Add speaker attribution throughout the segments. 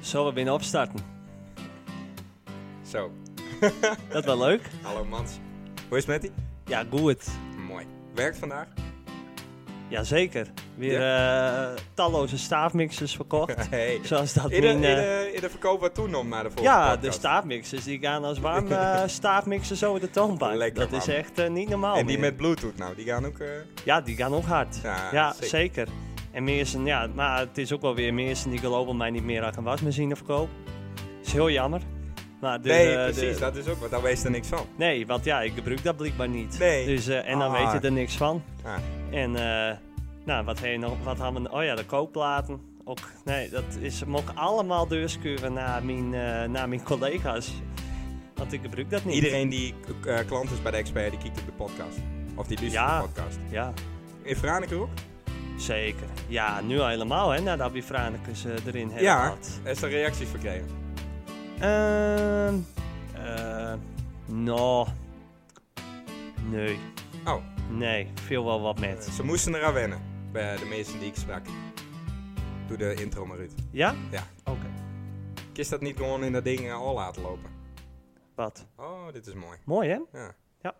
Speaker 1: Zullen we binnen opstarten?
Speaker 2: Zo,
Speaker 1: Dat wel leuk?
Speaker 2: hallo Mans. Hoe is het met die?
Speaker 1: Ja, goed.
Speaker 2: Mooi. Werkt vandaag?
Speaker 1: Jazeker. Weer eh, talloze staafmixers verkocht.
Speaker 2: Hey.
Speaker 1: Zoals dat
Speaker 2: In de, in,
Speaker 1: mijn, eh,
Speaker 2: de, in de verkoop wat toen om naar de volgende
Speaker 1: Ja, de
Speaker 2: podcast.
Speaker 1: staafmixers die gaan als warm eh, staafmixers over de toonbank.
Speaker 2: Lekker,
Speaker 1: dat is
Speaker 2: man.
Speaker 1: echt eh, niet normaal
Speaker 2: En die
Speaker 1: meer.
Speaker 2: met bluetooth nou, die gaan ook... eh,
Speaker 1: Ja, die gaan ook hard.
Speaker 2: Ja, zeker.
Speaker 1: zeker. En mensen, ja, maar het is ook wel weer mensen die geloven mij niet meer aan een wasmachine verkopen. is heel jammer. Maar de,
Speaker 2: nee,
Speaker 1: de-
Speaker 2: precies,
Speaker 1: Dus, eh, de-
Speaker 2: dat is ook wat. Daar wees er niks van.
Speaker 1: Nee, want ja, ik gebruik dat blijkbaar niet.
Speaker 2: Nee.
Speaker 1: Dus, eh, en dan
Speaker 2: Ah.
Speaker 1: weet je er niks van.
Speaker 2: Ah,
Speaker 1: En eh, nou, wat, heb je nog, wat hadden we... Oh ja, de kookplaten. Ook, nee, dat is hem ook allemaal deurskuren naar mijn, eh, naar mijn collega's. Want ik gebruik dat niet.
Speaker 2: iedereen die eh, klant is bij de expert, die kijkt op de podcast. Of die luistert
Speaker 1: Ja.
Speaker 2: op de podcast.
Speaker 1: Ja,
Speaker 2: In Franeker ook?
Speaker 1: zeker. Ja, nu al helemaal, hè, nadat we Franicus erin hebben
Speaker 2: ja,
Speaker 1: gehad.
Speaker 2: er is er reacties verkregen.
Speaker 1: Ehm... eh, nou... Nee,
Speaker 2: Oh,
Speaker 1: nee, veel wel wat met.
Speaker 2: ze moesten eraan wennen. Bij de meesten die ik sprak. Doe de intro maar uit.
Speaker 1: Ja?
Speaker 2: Ja.
Speaker 1: Oké.
Speaker 2: Ik is dat niet gewoon in dat ding eh, al laten lopen.
Speaker 1: Wat?
Speaker 2: Oh, dit is mooi.
Speaker 1: Mooi, hè?
Speaker 2: Ja.
Speaker 1: Ja.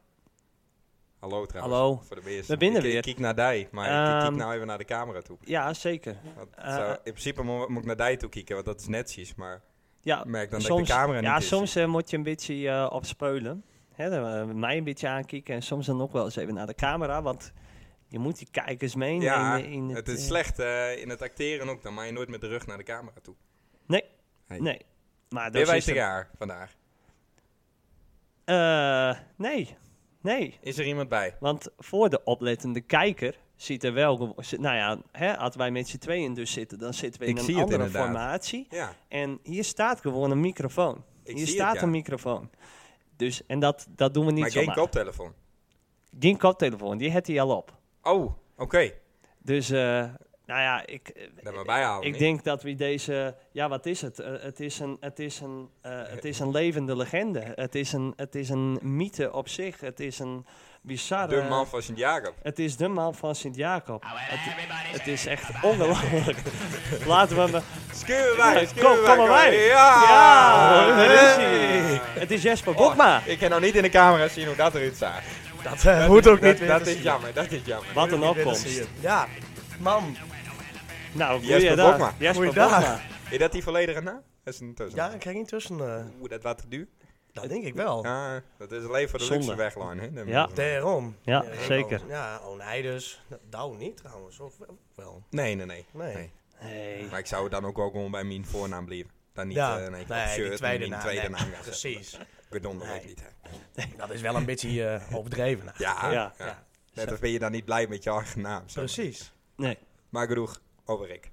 Speaker 2: Hallo trouwens.
Speaker 1: Hallo.
Speaker 2: Voor de beest.
Speaker 1: We binnen
Speaker 2: ik,
Speaker 1: weer.
Speaker 2: Ik kijk naar die, maar ik
Speaker 1: Ehm.
Speaker 2: kijk nou even naar de camera toe.
Speaker 1: Ja, zeker.
Speaker 2: Want
Speaker 1: Eh,
Speaker 2: zo, in principe mo- moet ik naar die toe kijken, want dat is netjes. Maar
Speaker 1: Ja,
Speaker 2: ik merk dan dat
Speaker 1: Ah, soms,
Speaker 2: ik de camera niet
Speaker 1: ja,
Speaker 2: is.
Speaker 1: soms eh, moet je een beetje eh, opspeulen. Hè, dan, eh, mij een beetje aankijken en soms dan ook wel eens even naar de camera. Want je moet die kijkers mee.
Speaker 2: Ja,
Speaker 1: in, in
Speaker 2: het is
Speaker 1: eh,
Speaker 2: slecht eh, in het acteren ook. Dan mag je nooit met de rug naar de camera toe.
Speaker 1: Nee,
Speaker 2: Nee.
Speaker 1: nee. Maar
Speaker 2: Ben
Speaker 1: dat
Speaker 2: wij
Speaker 1: is
Speaker 2: te
Speaker 1: het.
Speaker 2: jaar vandaag?
Speaker 1: Eh, nee, nee.
Speaker 2: Is er iemand bij?
Speaker 1: Want voor de oplettende kijker ziet er wel... gewo- zit- Nou ja, hè, als wij met z'n tweeën dus zitten, dan zitten we in
Speaker 2: Ik zie
Speaker 1: een
Speaker 2: het
Speaker 1: andere
Speaker 2: inderdaad.
Speaker 1: formatie.
Speaker 2: Ja,
Speaker 1: En hier staat gewoon een microfoon.
Speaker 2: Ik
Speaker 1: hier
Speaker 2: zie
Speaker 1: staat
Speaker 2: het, ja.
Speaker 1: een microfoon. Dus, en dat, dat doen we niet
Speaker 2: maar geen
Speaker 1: zomaar.
Speaker 2: koptelefoon.
Speaker 1: Die koptelefoon, die had hij al op.
Speaker 2: Oh, oké.
Speaker 1: Dus, eh, nou ja, ik, eh,
Speaker 2: Dat maar bijhouden.
Speaker 1: ik
Speaker 2: hè?
Speaker 1: denk dat we deze... Ja, wat is het? Eh, het, is een, het, is een, eh, het is een levende legende. Het is een, het is een mythe op zich. Het is een bizarre...
Speaker 2: De man van Sint-Jacob.
Speaker 1: Het is de man van Sint-Jacob. Het, het is echt ongelooflijk. Laten we... me-
Speaker 2: Schuur wij,
Speaker 1: Ja, kom, kom maar bij.
Speaker 2: Ja!
Speaker 1: Ja, hoor, daar is
Speaker 2: Ah, Hey.
Speaker 1: hij. Het is Jesper
Speaker 2: Oh,
Speaker 1: Bokma.
Speaker 2: Ik kan nog niet in de camera zien hoe dat eruit zag.
Speaker 3: Dat eh, moet ook
Speaker 2: Dat,
Speaker 3: niet
Speaker 2: dat is jammer, dat is jammer.
Speaker 1: Wat een opkomst.
Speaker 3: zien. Ja, man.
Speaker 1: Nou, goeiedag.
Speaker 2: Jesper Bokma.
Speaker 1: Jesper
Speaker 3: Goeiedag.
Speaker 1: Bokma.
Speaker 2: Is dat die volledige naam? Dat is een tussen.
Speaker 3: Ja, ik krijg niet tussen. eh,
Speaker 2: Oeh, dat wat te duur.
Speaker 3: dat denk ik wel.
Speaker 2: Ja, dat is alleen voor de
Speaker 1: Zonde.
Speaker 2: luxe weglijn, hè? Dat
Speaker 1: Ja.
Speaker 2: moet-
Speaker 3: Daarom.
Speaker 1: Ja,
Speaker 3: ik ook.
Speaker 1: zeker.
Speaker 3: Ja, Oneiders. Nou, Douw niet trouwens. Of wel- wel.
Speaker 2: Nee, nee, nee,
Speaker 3: Nee.
Speaker 2: nee.
Speaker 1: Hey.
Speaker 2: Maar ik zou dan ook wel gewoon bij mijn voornaam blijven. Dan niet,
Speaker 3: ja,
Speaker 2: eh, nee, op
Speaker 3: nee,
Speaker 2: shirt
Speaker 3: die tweede
Speaker 2: en mijn
Speaker 3: naam.
Speaker 2: tweede
Speaker 3: nee,
Speaker 2: naam gaan zetten.
Speaker 3: precies.
Speaker 2: Gedonder
Speaker 3: Nee.
Speaker 2: ook niet, hè.
Speaker 3: Dat is wel een beetje eh, overdreven. nou.
Speaker 2: Ja, ja.
Speaker 1: Ja.
Speaker 2: Net als ben je dan niet blij met je eigen naam. zeg maar.
Speaker 3: Precies.
Speaker 1: Nee.
Speaker 2: Maar genoeg over Rick.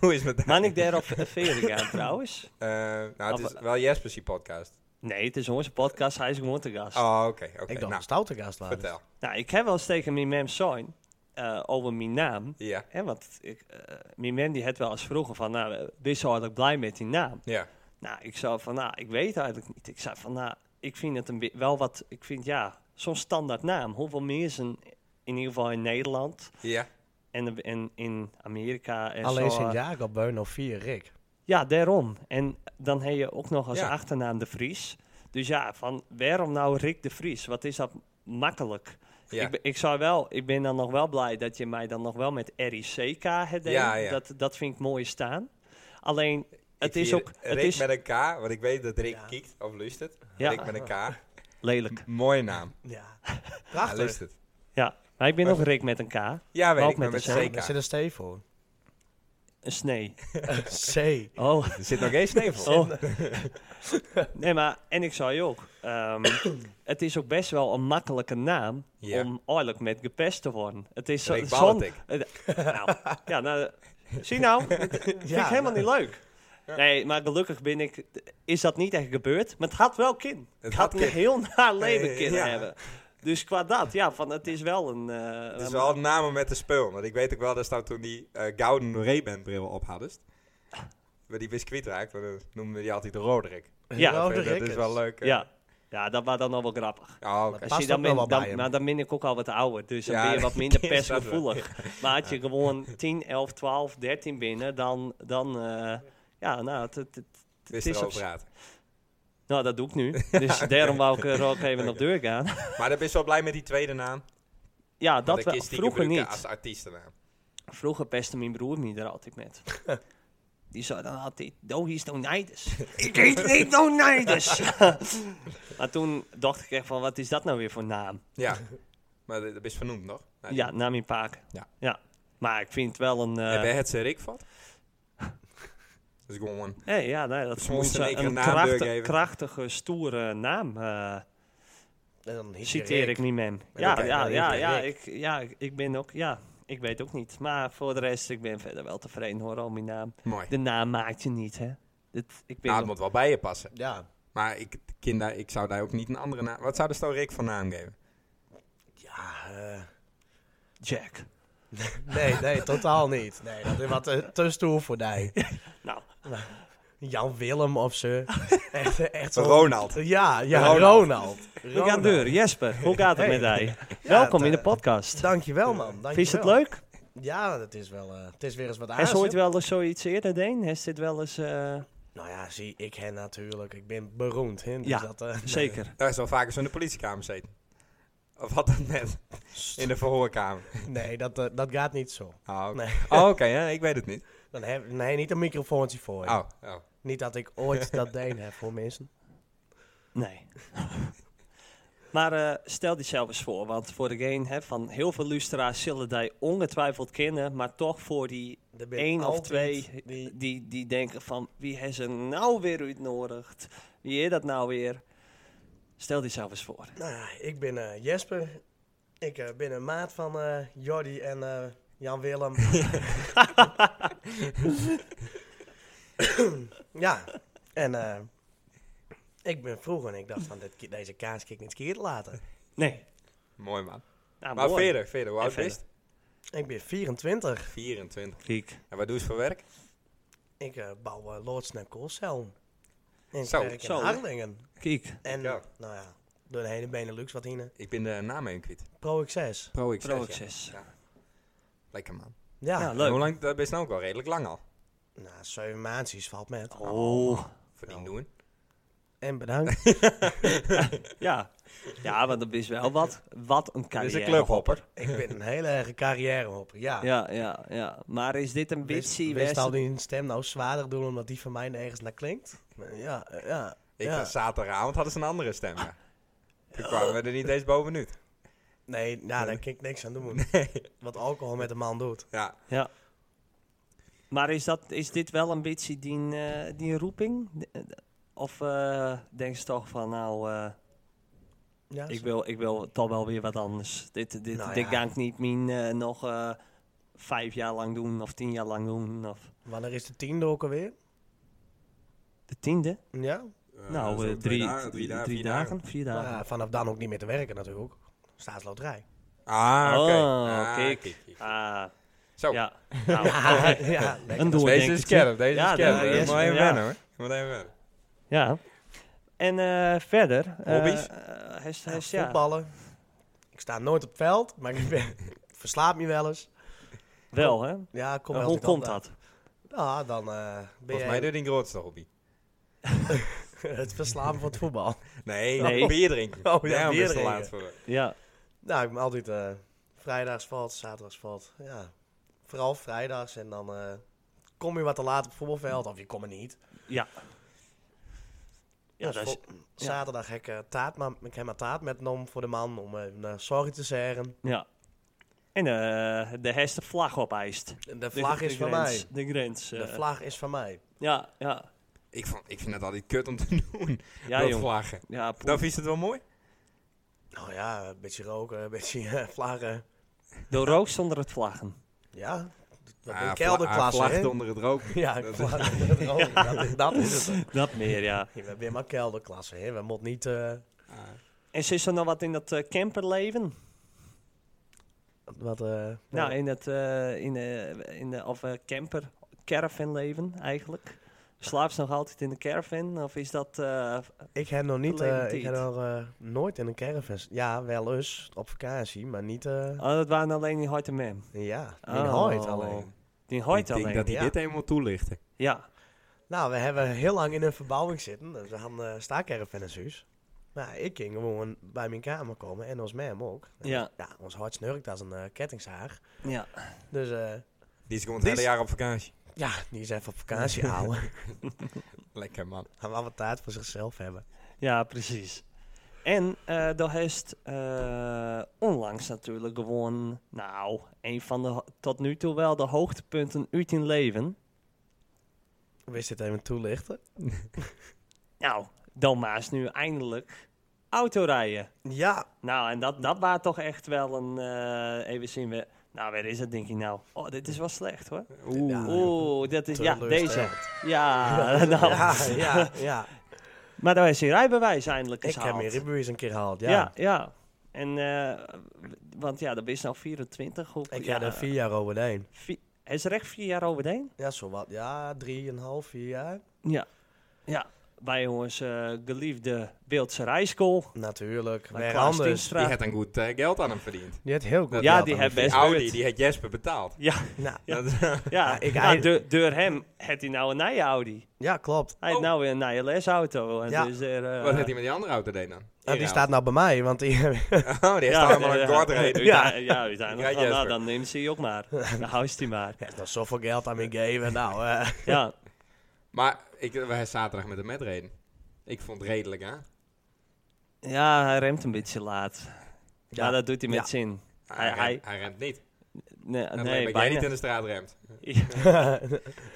Speaker 2: Hoe is het met
Speaker 1: Maar ik daarop verder gaan trouwens.
Speaker 2: Eh, nou, het is
Speaker 1: Af-
Speaker 2: wel Jesper's die podcast.
Speaker 1: Nee, het is onze podcast, hij is gewoon te gast.
Speaker 2: Oh, oké, oké.
Speaker 3: Ik dacht
Speaker 2: Nou,
Speaker 3: een stoute gast waren.
Speaker 2: vertel.
Speaker 1: Nou, ik heb wel eens tegen mijn mem zijn eh, over mijn naam.
Speaker 2: Ja,
Speaker 1: Hè, want ik, eh, mijn mem die had wel eens vroeger van, nou, eh, ben je eigenlijk blij met die naam?
Speaker 2: ja.
Speaker 1: Nou, ik zei van, nou, ik weet eigenlijk niet. Ik zei van, nou, ik vind het een, bi- wel wat, ik vind, ja, zo'n standaard naam. Hoeveel mensen, in ieder geval in Nederland
Speaker 2: Ja,
Speaker 1: en, en in Amerika en
Speaker 3: Alleen
Speaker 1: zo. eh,
Speaker 3: Sint-Jacob woont nog vier Rick.
Speaker 1: Ja, daarom. En dan heb je ook nog als
Speaker 2: Ja.
Speaker 1: achternaam de Vries. Dus ja, van waarom nou Rick de Vries? Wat is dat makkelijk?
Speaker 2: Ja.
Speaker 1: Ik, ben- ik, zou wel, ik ben dan nog wel blij dat je mij dan nog wel met RICK hebt.
Speaker 2: Ja, ja.
Speaker 1: Dat, dat vind ik mooi staan. Alleen, het
Speaker 2: Ik
Speaker 1: is
Speaker 2: vind
Speaker 1: ook het
Speaker 2: Rick
Speaker 1: is
Speaker 2: met een K, want ik weet dat Rick
Speaker 3: Ja.
Speaker 2: kiekt of luistert.
Speaker 1: Ja.
Speaker 2: Rick met een K.
Speaker 1: lelijk.
Speaker 2: Mooie naam.
Speaker 3: Ja.
Speaker 2: Ja,
Speaker 3: Prachtig.
Speaker 2: luistert.
Speaker 1: Ja, maar ik ben
Speaker 2: Maar
Speaker 1: ook Rick met een K.
Speaker 2: Ja, weet
Speaker 1: Ook
Speaker 2: ik, maar met
Speaker 1: met
Speaker 2: een
Speaker 1: een
Speaker 2: CK.
Speaker 3: Daar zit een C voor.
Speaker 1: Een snee.
Speaker 3: C.
Speaker 1: Oh,
Speaker 2: Er zit nog geen sneeuw
Speaker 1: Oh. nee, maar en ik zei ook, ehm, het is ook best wel een makkelijke naam
Speaker 2: Ja.
Speaker 1: om oorlijk met gepest te worden. Het is zo,
Speaker 2: Rick
Speaker 1: zon-
Speaker 2: Baltic.
Speaker 1: Eh, nou, ja, nou, zie nou, dat vind ik
Speaker 3: Ja.
Speaker 1: helemaal niet leuk. Nee, maar gelukkig ben ik, is dat niet echt gebeurd, maar het had wel kin. Het
Speaker 2: had
Speaker 1: had een
Speaker 2: kin.
Speaker 1: heel naar leven
Speaker 2: Eh,
Speaker 1: kunnen
Speaker 2: ja.
Speaker 1: hebben. Dus qua dat, ja, van het is wel een... eh,
Speaker 2: Het is
Speaker 1: een-
Speaker 2: wel namen met de spul. Want ik weet ook wel dat staan toen die eh, Gouden Ray-Ban bril op hadden. Maar die biscuit raakt, want dan noemden we die altijd de Roderick.
Speaker 1: Ja.
Speaker 3: Rode
Speaker 2: dat
Speaker 3: Rick
Speaker 2: is wel leuk. eh.
Speaker 1: ja. ja, dat was dan al wel grappig.
Speaker 2: Ja, oké.
Speaker 3: Dat
Speaker 1: Als je
Speaker 3: Past
Speaker 1: dan
Speaker 3: ook wel
Speaker 1: ben-
Speaker 3: wat bij
Speaker 1: dan-
Speaker 3: hem.
Speaker 1: maar dan ben ik ook al wat ouder, dus dan
Speaker 2: Ja,
Speaker 1: ben je wat minder
Speaker 2: dat is dat wel.
Speaker 1: persgevoelig. Maar had je gewoon 10, 11, 12, 13 binnen, dan, dan eh, Ja, nou, het, het, het- het
Speaker 2: Wist
Speaker 1: is
Speaker 2: erover
Speaker 1: op
Speaker 2: praten.
Speaker 1: Nou, dat doe ik nu. Dus daarom wou ik er ook even op doorgaan.
Speaker 2: Maar dan ben je wel blij met die tweede naam.
Speaker 1: Ja, dat
Speaker 2: Want ik
Speaker 1: wel.
Speaker 2: kies die
Speaker 1: Vroeger
Speaker 2: gebruiken
Speaker 1: niet.
Speaker 2: Als artiestennaam.
Speaker 1: Vroeger pestte mijn broer me er altijd met. Die zei dan altijd, doe is nou Donitis. ik heet niet Donitis. maar toen dacht ik echt van, wat is dat nou weer voor naam?
Speaker 2: Ja. maar dat dat is vernoemd nog. Nou,
Speaker 1: Ja, naam in Paak.
Speaker 2: Ja.
Speaker 1: Maar ik vind het wel een... eh,
Speaker 2: Heb jij het Rick vat? Dat is gewoon...
Speaker 1: eh, hey, ja, nee, dat
Speaker 2: Dus
Speaker 1: is
Speaker 2: we moesten
Speaker 1: onze-
Speaker 2: in één
Speaker 1: een,
Speaker 2: keer een naam
Speaker 1: krachtige,
Speaker 2: doorgeven.
Speaker 1: krachtige, stoere naam. eh,
Speaker 3: En dan heet je
Speaker 1: citeer
Speaker 3: Rick.
Speaker 1: ik niet mem.
Speaker 3: Maar
Speaker 1: Ja,
Speaker 3: dan-
Speaker 1: ja,
Speaker 3: dan
Speaker 1: ja,
Speaker 3: heet
Speaker 1: ja,
Speaker 3: je
Speaker 1: ik, ja, ik- ik ben ook... Ja, ik weet ook niet. Maar voor de rest, ik ben verder wel tevreden hoor, al mijn naam.
Speaker 2: Mooi.
Speaker 1: De naam maakt je niet, hè. Dit, ik ben
Speaker 2: Nou, het moet wel bij je passen.
Speaker 3: Ja.
Speaker 2: Maar ik, kinder, ik zou daar ook niet een andere naam... Wat zou de stel Rick van naam geven?
Speaker 3: Ja, eh,
Speaker 1: Jack.
Speaker 3: nee, nee, totaal niet. Nee, dat is wat eh, te stoer voor mij.
Speaker 1: Nou,
Speaker 3: Jan Willem of ze. Echt, eh, echt zo.
Speaker 2: Ronald.
Speaker 3: Ja, ja,
Speaker 2: Ronald.
Speaker 3: Ronald. Ronald.
Speaker 1: we gaan deur. Jesper, hoe gaat het
Speaker 3: Hey.
Speaker 1: met hij?
Speaker 3: Ja,
Speaker 1: Welkom
Speaker 3: het,
Speaker 1: in de
Speaker 3: eh,
Speaker 1: podcast.
Speaker 3: Dankjewel, man. Dankjewel.
Speaker 1: Vind je het leuk?
Speaker 3: Ja, het is wel, eh, het is weer eens wat
Speaker 1: Hij
Speaker 3: aardigs.
Speaker 1: is ooit wel eens zoiets eerder deen. Hij dit wel eens... eh,
Speaker 3: Nou ja, zie, ik hen natuurlijk. Ik ben beroemd, hè. Dus
Speaker 1: Ja.
Speaker 3: dat, eh,
Speaker 1: Zeker.
Speaker 2: Daar is wel vaker zo in de politiekamer zitten. Of wat dan net? In de verhoorkamer.
Speaker 3: nee, dat, eh, dat gaat niet zo.
Speaker 2: Oh, oké.
Speaker 3: Nee.
Speaker 2: Oh, oké, ja, ik weet het niet.
Speaker 3: Dan heb, nee, niet een microfoontje voor je.
Speaker 2: Oh, oh.
Speaker 3: Niet dat ik ooit dat deen heb voor mensen.
Speaker 1: Nee. maar eh, stel die zelf eens voor. Want voor degene hè, van heel veel luisteraars zullen die ongetwijfeld kennen. Maar toch voor die
Speaker 3: Er ben
Speaker 1: één of
Speaker 3: altijd
Speaker 1: twee
Speaker 3: die-
Speaker 1: die, die denken van... Wie heeft ze nou weer uitnodigd? Wie is dat nou weer? Stel die zelf eens voor.
Speaker 3: Nou ja, ik ben eh, Jesper. Ik eh, ben een maat van eh, Jordi en eh, Jan Willem. ja, en eh, ik ben vroeg en ik dacht van dit, ki- deze kaas kan ik niet keer laten.
Speaker 1: Nee.
Speaker 2: Ah, Mooi man.
Speaker 1: Nou,
Speaker 2: maar
Speaker 1: mooi.
Speaker 2: verder, verder. Hoe
Speaker 1: En
Speaker 2: oud ben je?
Speaker 1: verder.
Speaker 3: Ik ben 24.
Speaker 2: 24.
Speaker 1: Kiek.
Speaker 2: En wat doe je voor werk?
Speaker 3: Ik eh, bouw eh loods en koolcellen. En ik
Speaker 2: Zo,
Speaker 3: werk in
Speaker 1: zo.
Speaker 3: Harlingen.
Speaker 1: Kiek.
Speaker 3: En
Speaker 2: Ja.
Speaker 3: nou ja, door de hele Benelux wat heen.
Speaker 2: Ik ben de naam even kwijt.
Speaker 3: Pro X6.
Speaker 2: Pro X6.
Speaker 1: Pro
Speaker 2: ja.
Speaker 1: Access.
Speaker 2: Lekker man.
Speaker 3: Ja,
Speaker 1: Ja,
Speaker 3: nou,
Speaker 2: En Hoe
Speaker 1: leuk.
Speaker 2: lang? Dat is nou ook al redelijk lang al.
Speaker 3: zeven maandjes valt met.
Speaker 1: Oh.
Speaker 2: Verdien doen.
Speaker 3: En bedankt.
Speaker 1: Ja. Ja, want dat is wel wat, wat een
Speaker 2: Dit is een
Speaker 1: carrière.
Speaker 2: clubhopper.
Speaker 3: ik ben een hele erge carrièrehopper, ja.
Speaker 1: Ja, ja, ja. Maar is dit een bitchy
Speaker 3: Wist al
Speaker 1: West?
Speaker 3: die stem nou zwaarder doen omdat die van mij nergens naar klinkt? Ja, eh, ja.
Speaker 2: Ik
Speaker 3: ja.
Speaker 2: was zaterdagavond hadden ze een andere stem. ja.
Speaker 1: Ah.
Speaker 2: Toen kwamen we er niet eens bovenuit.
Speaker 3: Nee, nou, daar kan ik niks aan doen. Wat alcohol met een man doet.
Speaker 2: Ja.
Speaker 1: Ja. Maar is, dat, is dit wel een bitchy die, eh, die roeping? Eh, Of eh, denk je toch van, nou, eh,
Speaker 3: Ja,
Speaker 1: ik, wil, ik wil toch wel weer wat anders. Dit, dit,
Speaker 3: Nou
Speaker 1: dit
Speaker 3: ja.
Speaker 1: ga ik niet min eh, nog eh, vijf jaar lang doen of tien jaar lang doen. Of
Speaker 3: Wanneer is de tiende ook alweer?
Speaker 1: de tiende?
Speaker 3: Ja?
Speaker 1: nou, eh, drie, drie, dagen, vier
Speaker 3: Maar,
Speaker 1: dagen.
Speaker 3: ja, vanaf dan ook niet meer te werken natuurlijk. Staatsloterij.
Speaker 2: Ah, oké.
Speaker 1: Oh,
Speaker 2: Ah,
Speaker 1: kijk.
Speaker 2: kijk, kijk.
Speaker 1: Ah,
Speaker 2: Zo,
Speaker 1: ja. Nou,
Speaker 3: Ja,
Speaker 1: oké.
Speaker 3: ja, lekker.
Speaker 1: Een doel,
Speaker 2: deze is scherp. Deze
Speaker 1: Ja,
Speaker 2: is scherp.
Speaker 1: daar-
Speaker 2: Je
Speaker 1: yes,
Speaker 2: moet even
Speaker 1: ja.
Speaker 2: wennen hoor. Je moet even wennen.
Speaker 1: Ja. En eh, verder. eh,
Speaker 2: Hobby's?
Speaker 1: eh, hij is- hij is-
Speaker 3: Ja,
Speaker 1: ja,
Speaker 3: Nou, voetballen. Ik sta nooit op het veld, maar ik ben, verslaap me wel eens.
Speaker 1: wel hè.
Speaker 3: Ja, kom
Speaker 1: Maar
Speaker 3: wel
Speaker 1: hoe
Speaker 3: altijd
Speaker 1: komt
Speaker 3: aan.
Speaker 1: dat?
Speaker 3: Ja, dan eh, ben
Speaker 2: Volgens mij
Speaker 3: jij
Speaker 2: doe je die grootste hobby.
Speaker 3: het verslaan van het voetbal.
Speaker 2: Nee,
Speaker 1: Nee.
Speaker 2: bier drinken.
Speaker 3: Oh, ja,
Speaker 2: Daarom
Speaker 3: bier
Speaker 2: is het te
Speaker 3: drinken.
Speaker 2: laat voor.
Speaker 1: Ja.
Speaker 3: Nou, ik ben altijd eh, vrijdags valt, zaterdags valt. Ja, vooral vrijdags. En dan eh, kom je wat te laat op het voetbalveld, of je komt er niet.
Speaker 1: Ja. Ja,
Speaker 3: Dus
Speaker 1: dat is,
Speaker 3: vol-
Speaker 1: ja.
Speaker 3: Zaterdag heb ik, eh, taart, ma- ik heb mijn taart metgenomen voor de man, om even eh, sorry te zeggen.
Speaker 1: ja. En eh, de heeft de vlag opeist.
Speaker 3: De
Speaker 1: De-
Speaker 3: vlag
Speaker 1: de
Speaker 3: is van
Speaker 1: grens,
Speaker 3: mij.
Speaker 1: De grens. eh,
Speaker 3: De vlag is van mij.
Speaker 1: Ja, ja.
Speaker 2: Ik, vond, ik vind het altijd kut om te doen.
Speaker 1: Ja,
Speaker 2: dat
Speaker 1: jong.
Speaker 2: vlaggen.
Speaker 1: Ja, poe.
Speaker 2: Dan vind je het wel mooi?
Speaker 3: Nou ja, een beetje roken, een beetje eh, vlaggen.
Speaker 1: de rook zonder het vlaggen.
Speaker 3: Ja, dat
Speaker 2: Ah,
Speaker 3: ben
Speaker 2: vla-
Speaker 3: kelderklasse,
Speaker 2: ah,
Speaker 3: hè?
Speaker 2: vlaggen onder het rook.
Speaker 3: Ja,
Speaker 2: Dat is-
Speaker 3: vlaggen onder het roken, dat is- dat is het.
Speaker 1: Dat meer, ja.
Speaker 3: Ja, We hebben maar kelderklasse, hè? We moeten niet... eh,
Speaker 2: Ah,
Speaker 1: En zit er nog wat in dat eh, camperleven?
Speaker 3: wat, eh,
Speaker 1: Nou, in het, eh, in de, in de, of eh, camper, caravanleven eigenlijk. Slaapt ze nog altijd in de caravan? Of is dat... eh,
Speaker 3: Ik heb nog niet, eh,
Speaker 1: Verleden
Speaker 3: ik heb
Speaker 1: tijd.
Speaker 3: nog eh, nooit in een caravan. Ja, wel eens op vakantie, maar niet. eh,
Speaker 1: oh, dat waren alleen die hoite mem.
Speaker 3: Ja,
Speaker 1: Oh.
Speaker 3: in Hoyt alleen.
Speaker 1: Die
Speaker 2: ik
Speaker 1: hoite
Speaker 2: denk
Speaker 1: alleen.
Speaker 2: dat hij
Speaker 3: ja.
Speaker 2: dit helemaal toelichtte.
Speaker 1: Ja.
Speaker 3: Nou, we hebben heel lang in een verbouwing zitten. Dus we hadden uh, staakerven in huis. Maar ik ging gewoon bij mijn kamer komen en ons mem ook. En
Speaker 1: Ja.
Speaker 3: ja, ons hart snurkt als een eh, kettingzaag.
Speaker 1: Ja.
Speaker 3: Dus eh,
Speaker 2: Die is gewoon
Speaker 3: Die
Speaker 2: het hele
Speaker 3: is-
Speaker 2: jaar op vakantie.
Speaker 3: ja, die is even op vakantie houden.
Speaker 2: Lekker man.
Speaker 3: Gaan we allemaal taart voor zichzelf hebben.
Speaker 1: Ja, precies. En eh daar heeft eh, onlangs natuurlijk gewoon, nou, een van de ho- tot nu toe wel de hoogtepunten uit in leven.
Speaker 3: Wist dit even toelichten?
Speaker 1: Nou, dan maar is nu eindelijk autorijden.
Speaker 3: Ja,
Speaker 1: Nou, en dat, dat was toch echt wel een, eh, even zien we, nou, waar is dat denk ik nou? Oh, dit is wel slecht hoor.
Speaker 2: Oeh.
Speaker 3: Ja.
Speaker 1: Oeh, dat is, ja, deze.
Speaker 3: teleurstellend.
Speaker 1: Ja, nou.
Speaker 3: Ja, ja, ja.
Speaker 1: Maar daar is je rijbewijs eindelijk
Speaker 3: Ik
Speaker 1: eens
Speaker 3: heb mijn
Speaker 1: gehaald.
Speaker 3: rijbewijs een keer gehaald, ja.
Speaker 1: Ja, ja. En, eh, want ja, dat ben je nou 24. Hoe,
Speaker 3: Ik
Speaker 1: ja,
Speaker 3: heb er vier jaar overheen.
Speaker 1: vi- hij is er echt vier jaar overheen?
Speaker 3: Ja, zo wat. Ja, drieënhalf, vier jaar.
Speaker 1: Ja. Ja, bij ons eh, geliefde Beeldse Rijschool.
Speaker 3: Natuurlijk.
Speaker 1: Bij
Speaker 3: Waar
Speaker 1: Klaas
Speaker 3: anders.
Speaker 1: Tienstra.
Speaker 2: Die had een goed eh, geld aan hem verdiend.
Speaker 3: Die heeft heel goed
Speaker 2: Dat
Speaker 1: Ja,
Speaker 3: geld
Speaker 1: die
Speaker 3: aan
Speaker 1: heeft
Speaker 3: de
Speaker 1: best-
Speaker 3: fiets.
Speaker 2: Audi,
Speaker 1: goed.
Speaker 2: die had Jesper betaald.
Speaker 3: Nou,
Speaker 2: Dat-
Speaker 1: Ja,
Speaker 3: ik-
Speaker 1: nou,
Speaker 3: hij-
Speaker 1: door, door hem had hij nou een nieuwe Audi.
Speaker 3: ja, klopt.
Speaker 1: Hij
Speaker 2: Oh.
Speaker 1: heeft nou weer een nieuwe lesauto. En
Speaker 3: Ja.
Speaker 1: dus er, eh,
Speaker 2: Wat heeft hij met die andere auto deed dan?
Speaker 3: Nou, die staat nou bij mij, want die...
Speaker 2: Oh, die heeft daar helemaal een gordreden.
Speaker 1: Ja, ja, uiteindelijk.
Speaker 2: Ja,
Speaker 1: nou,
Speaker 2: Jesper.
Speaker 1: dan neemt ze je ook maar. Dan houdt hij maar.
Speaker 3: Er is nog zoveel geld aan me geven. Nou, eh,
Speaker 1: Ja,
Speaker 2: Maar ik, wij zaterdag met hem metreden. Ik vond het redelijk, hè?
Speaker 1: ja hij remt een beetje laat. Ja, dat doet hij met
Speaker 3: Ja.
Speaker 1: zin.
Speaker 2: Hij,
Speaker 1: Hij- hij-
Speaker 2: remt, hij remt niet.
Speaker 1: Nee,
Speaker 2: Nee,
Speaker 1: nee
Speaker 2: jij
Speaker 1: bijna.
Speaker 2: niet in de straat remt.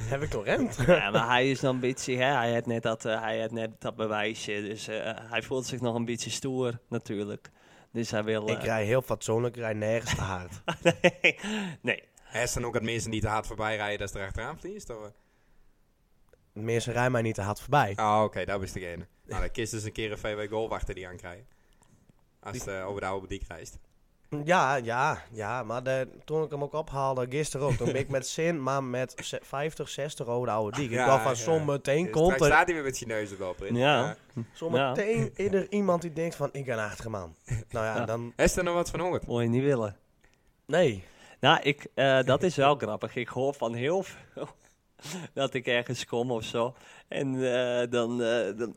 Speaker 3: heb ik toch rent?
Speaker 1: Ja, maar hij is dan een beetje, hè? hij had net dat, eh, hij had net dat bewijsje, dus eh, hij voelt zich nog een beetje stoer natuurlijk. Dus hij wil...
Speaker 3: Ik
Speaker 1: eh,
Speaker 3: rij heel fatsoenlijk, ik rij nergens te hard.
Speaker 1: nee, nee,
Speaker 2: Hij is dan ook het mensen die te hard voorbij rijden dat ze erachteraan vliegt? Of?
Speaker 3: Mensen rijden mij niet te hard voorbij.
Speaker 2: Oh, oké, dat was degene. Nou, dan kist dus een keer een VW Goalwachter die aankrijgen. Als het eh, over de oude dik reist.
Speaker 3: Ja, ja, ja. Maar de- toen ik hem ook ophaalde, gisteren ook, toen ben ik met zin, maar met ze- 50, 60 rode oude diek. Ik
Speaker 2: Ja,
Speaker 3: dacht van,
Speaker 2: ja.
Speaker 3: zometeen
Speaker 2: Dus
Speaker 3: komt
Speaker 2: straks
Speaker 3: er,
Speaker 2: staat hij weer met zijn neus erop. in.
Speaker 1: Ja.
Speaker 3: zometeen is er iemand die denkt van, ik ben achtige man. Nou ja,
Speaker 1: Ja.
Speaker 3: dan,
Speaker 2: Is er nog wat van honderd?
Speaker 1: moet je niet willen.
Speaker 3: nee.
Speaker 1: Nou, ik, eh, dat is wel grappig. Ik hoor van heel veel dat ik ergens kom of zo. En eh, dan, eh, dan...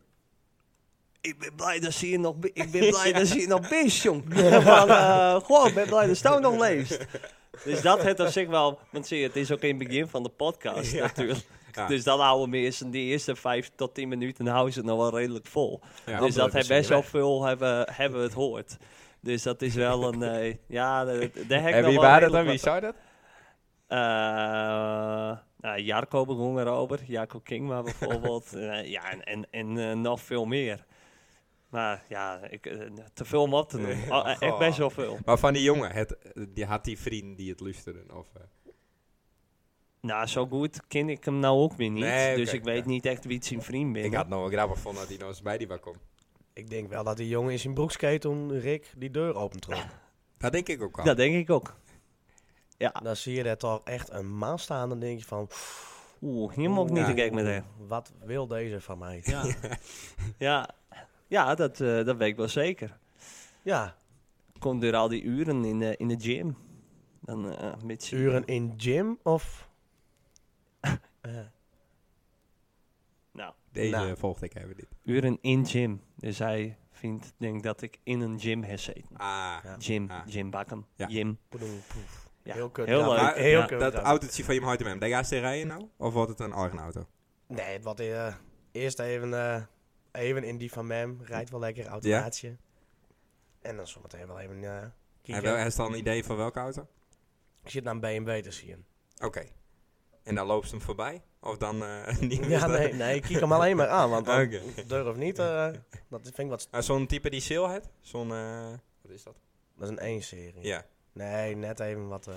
Speaker 1: Ik ben blij dat ze hier nog, be- ik ben blij dat ze hier nog beest, jong. Van, eh, goh, ik ben blij dat Stouw nog leeft. Dus dat het op zich wel... Want zie je, het is ook in het begin van de podcast natuurlijk.
Speaker 2: Ja.
Speaker 1: Dus dan houden we eerst die eerste vijf tot tien minuten houden ze het nog wel redelijk vol.
Speaker 2: Ja,
Speaker 1: dus dat
Speaker 2: hebben
Speaker 1: hebben best wel veel hebben, hebben we het hoort. Dus dat is wel een... eh, ja, de, de, de
Speaker 2: En wie waren dat dan? Wie zou dat?
Speaker 1: eh nou, Jarko begon erover, Jarko Kingma bijvoorbeeld. Eh, ja, en, en, en eh, nog veel meer. Maar ja, ik, eh, te veel om op te noemen.
Speaker 2: Ja,
Speaker 1: Oh, eh, echt
Speaker 2: goh.
Speaker 1: best wel veel.
Speaker 2: Maar van die jongen, het, die had die vriend die het luisterde? Of, eh,
Speaker 1: Nou, zo goed ken ik hem nou ook weer niet.
Speaker 2: Nee,
Speaker 1: dus
Speaker 2: oké,
Speaker 1: ik weet
Speaker 2: oké.
Speaker 1: niet echt wie het zijn vriend ben.
Speaker 2: ik had nog wel grappig gevonden dat hij nog eens bij die was komt.
Speaker 3: Ik denk wel dat die jongen in zijn broekskate toen Rick die deur opentrok.
Speaker 2: Dat denk ik ook al.
Speaker 1: Dat denk ik ook.
Speaker 3: Dan zie je dat toch echt een maan staan. Dan denk je van,
Speaker 1: Oeh, hier moet ik niet
Speaker 2: Ja.
Speaker 1: te gek met hem.
Speaker 3: wat wil deze van mij?
Speaker 1: Ja, ja. ja dat, eh, dat weet ik wel zeker.
Speaker 3: Ja,
Speaker 1: Komt door al die uren in de, in de gym. Dan, eh, een beetje-
Speaker 3: uren in gym of... Eh,
Speaker 1: Nou,
Speaker 2: Deze
Speaker 3: Nou.
Speaker 2: volgde ik even niet.
Speaker 1: uren in gym. Dus hij vindt, denk dat ik in een gym heb zitten.
Speaker 2: Ah,
Speaker 3: Ja.
Speaker 1: Jim,
Speaker 2: Ah.
Speaker 1: Jim Bakken.
Speaker 2: Ja.
Speaker 1: Jim.
Speaker 3: poedoem, poef.
Speaker 1: Ja,
Speaker 3: Heel kut.
Speaker 1: heel
Speaker 3: ja,
Speaker 1: leuk.
Speaker 2: Maar,
Speaker 3: Heel
Speaker 1: Ja,
Speaker 3: kut.
Speaker 2: dat
Speaker 3: ja.
Speaker 2: autootje van je hem uit hem, daar gaat ze rijden nou? Of wordt het een eigen auto?
Speaker 3: Nee, wat eh, eerst even, eh, even in die van mem. Rijdt wel lekker, automaatje. En dan zometeen wel even eh
Speaker 2: Heb
Speaker 3: kijken.
Speaker 2: je heeft al een idee van welke auto?
Speaker 3: Ik zit naar een BMW te zien.
Speaker 2: Oké. En dan loopt ze hem voorbij? Of dan eh, niet meer?
Speaker 3: Ja, nee, nee, ik kijk hem alleen maar aan. Want dan
Speaker 2: Oké.
Speaker 3: durf niet, eh, dat vind ik wat... st-
Speaker 2: Ah, zo'n type die Sil heeft? Zo'n... eh, wat is dat?
Speaker 3: Dat is een 1-serie.
Speaker 2: Ja.
Speaker 3: Nee, net even wat... eh,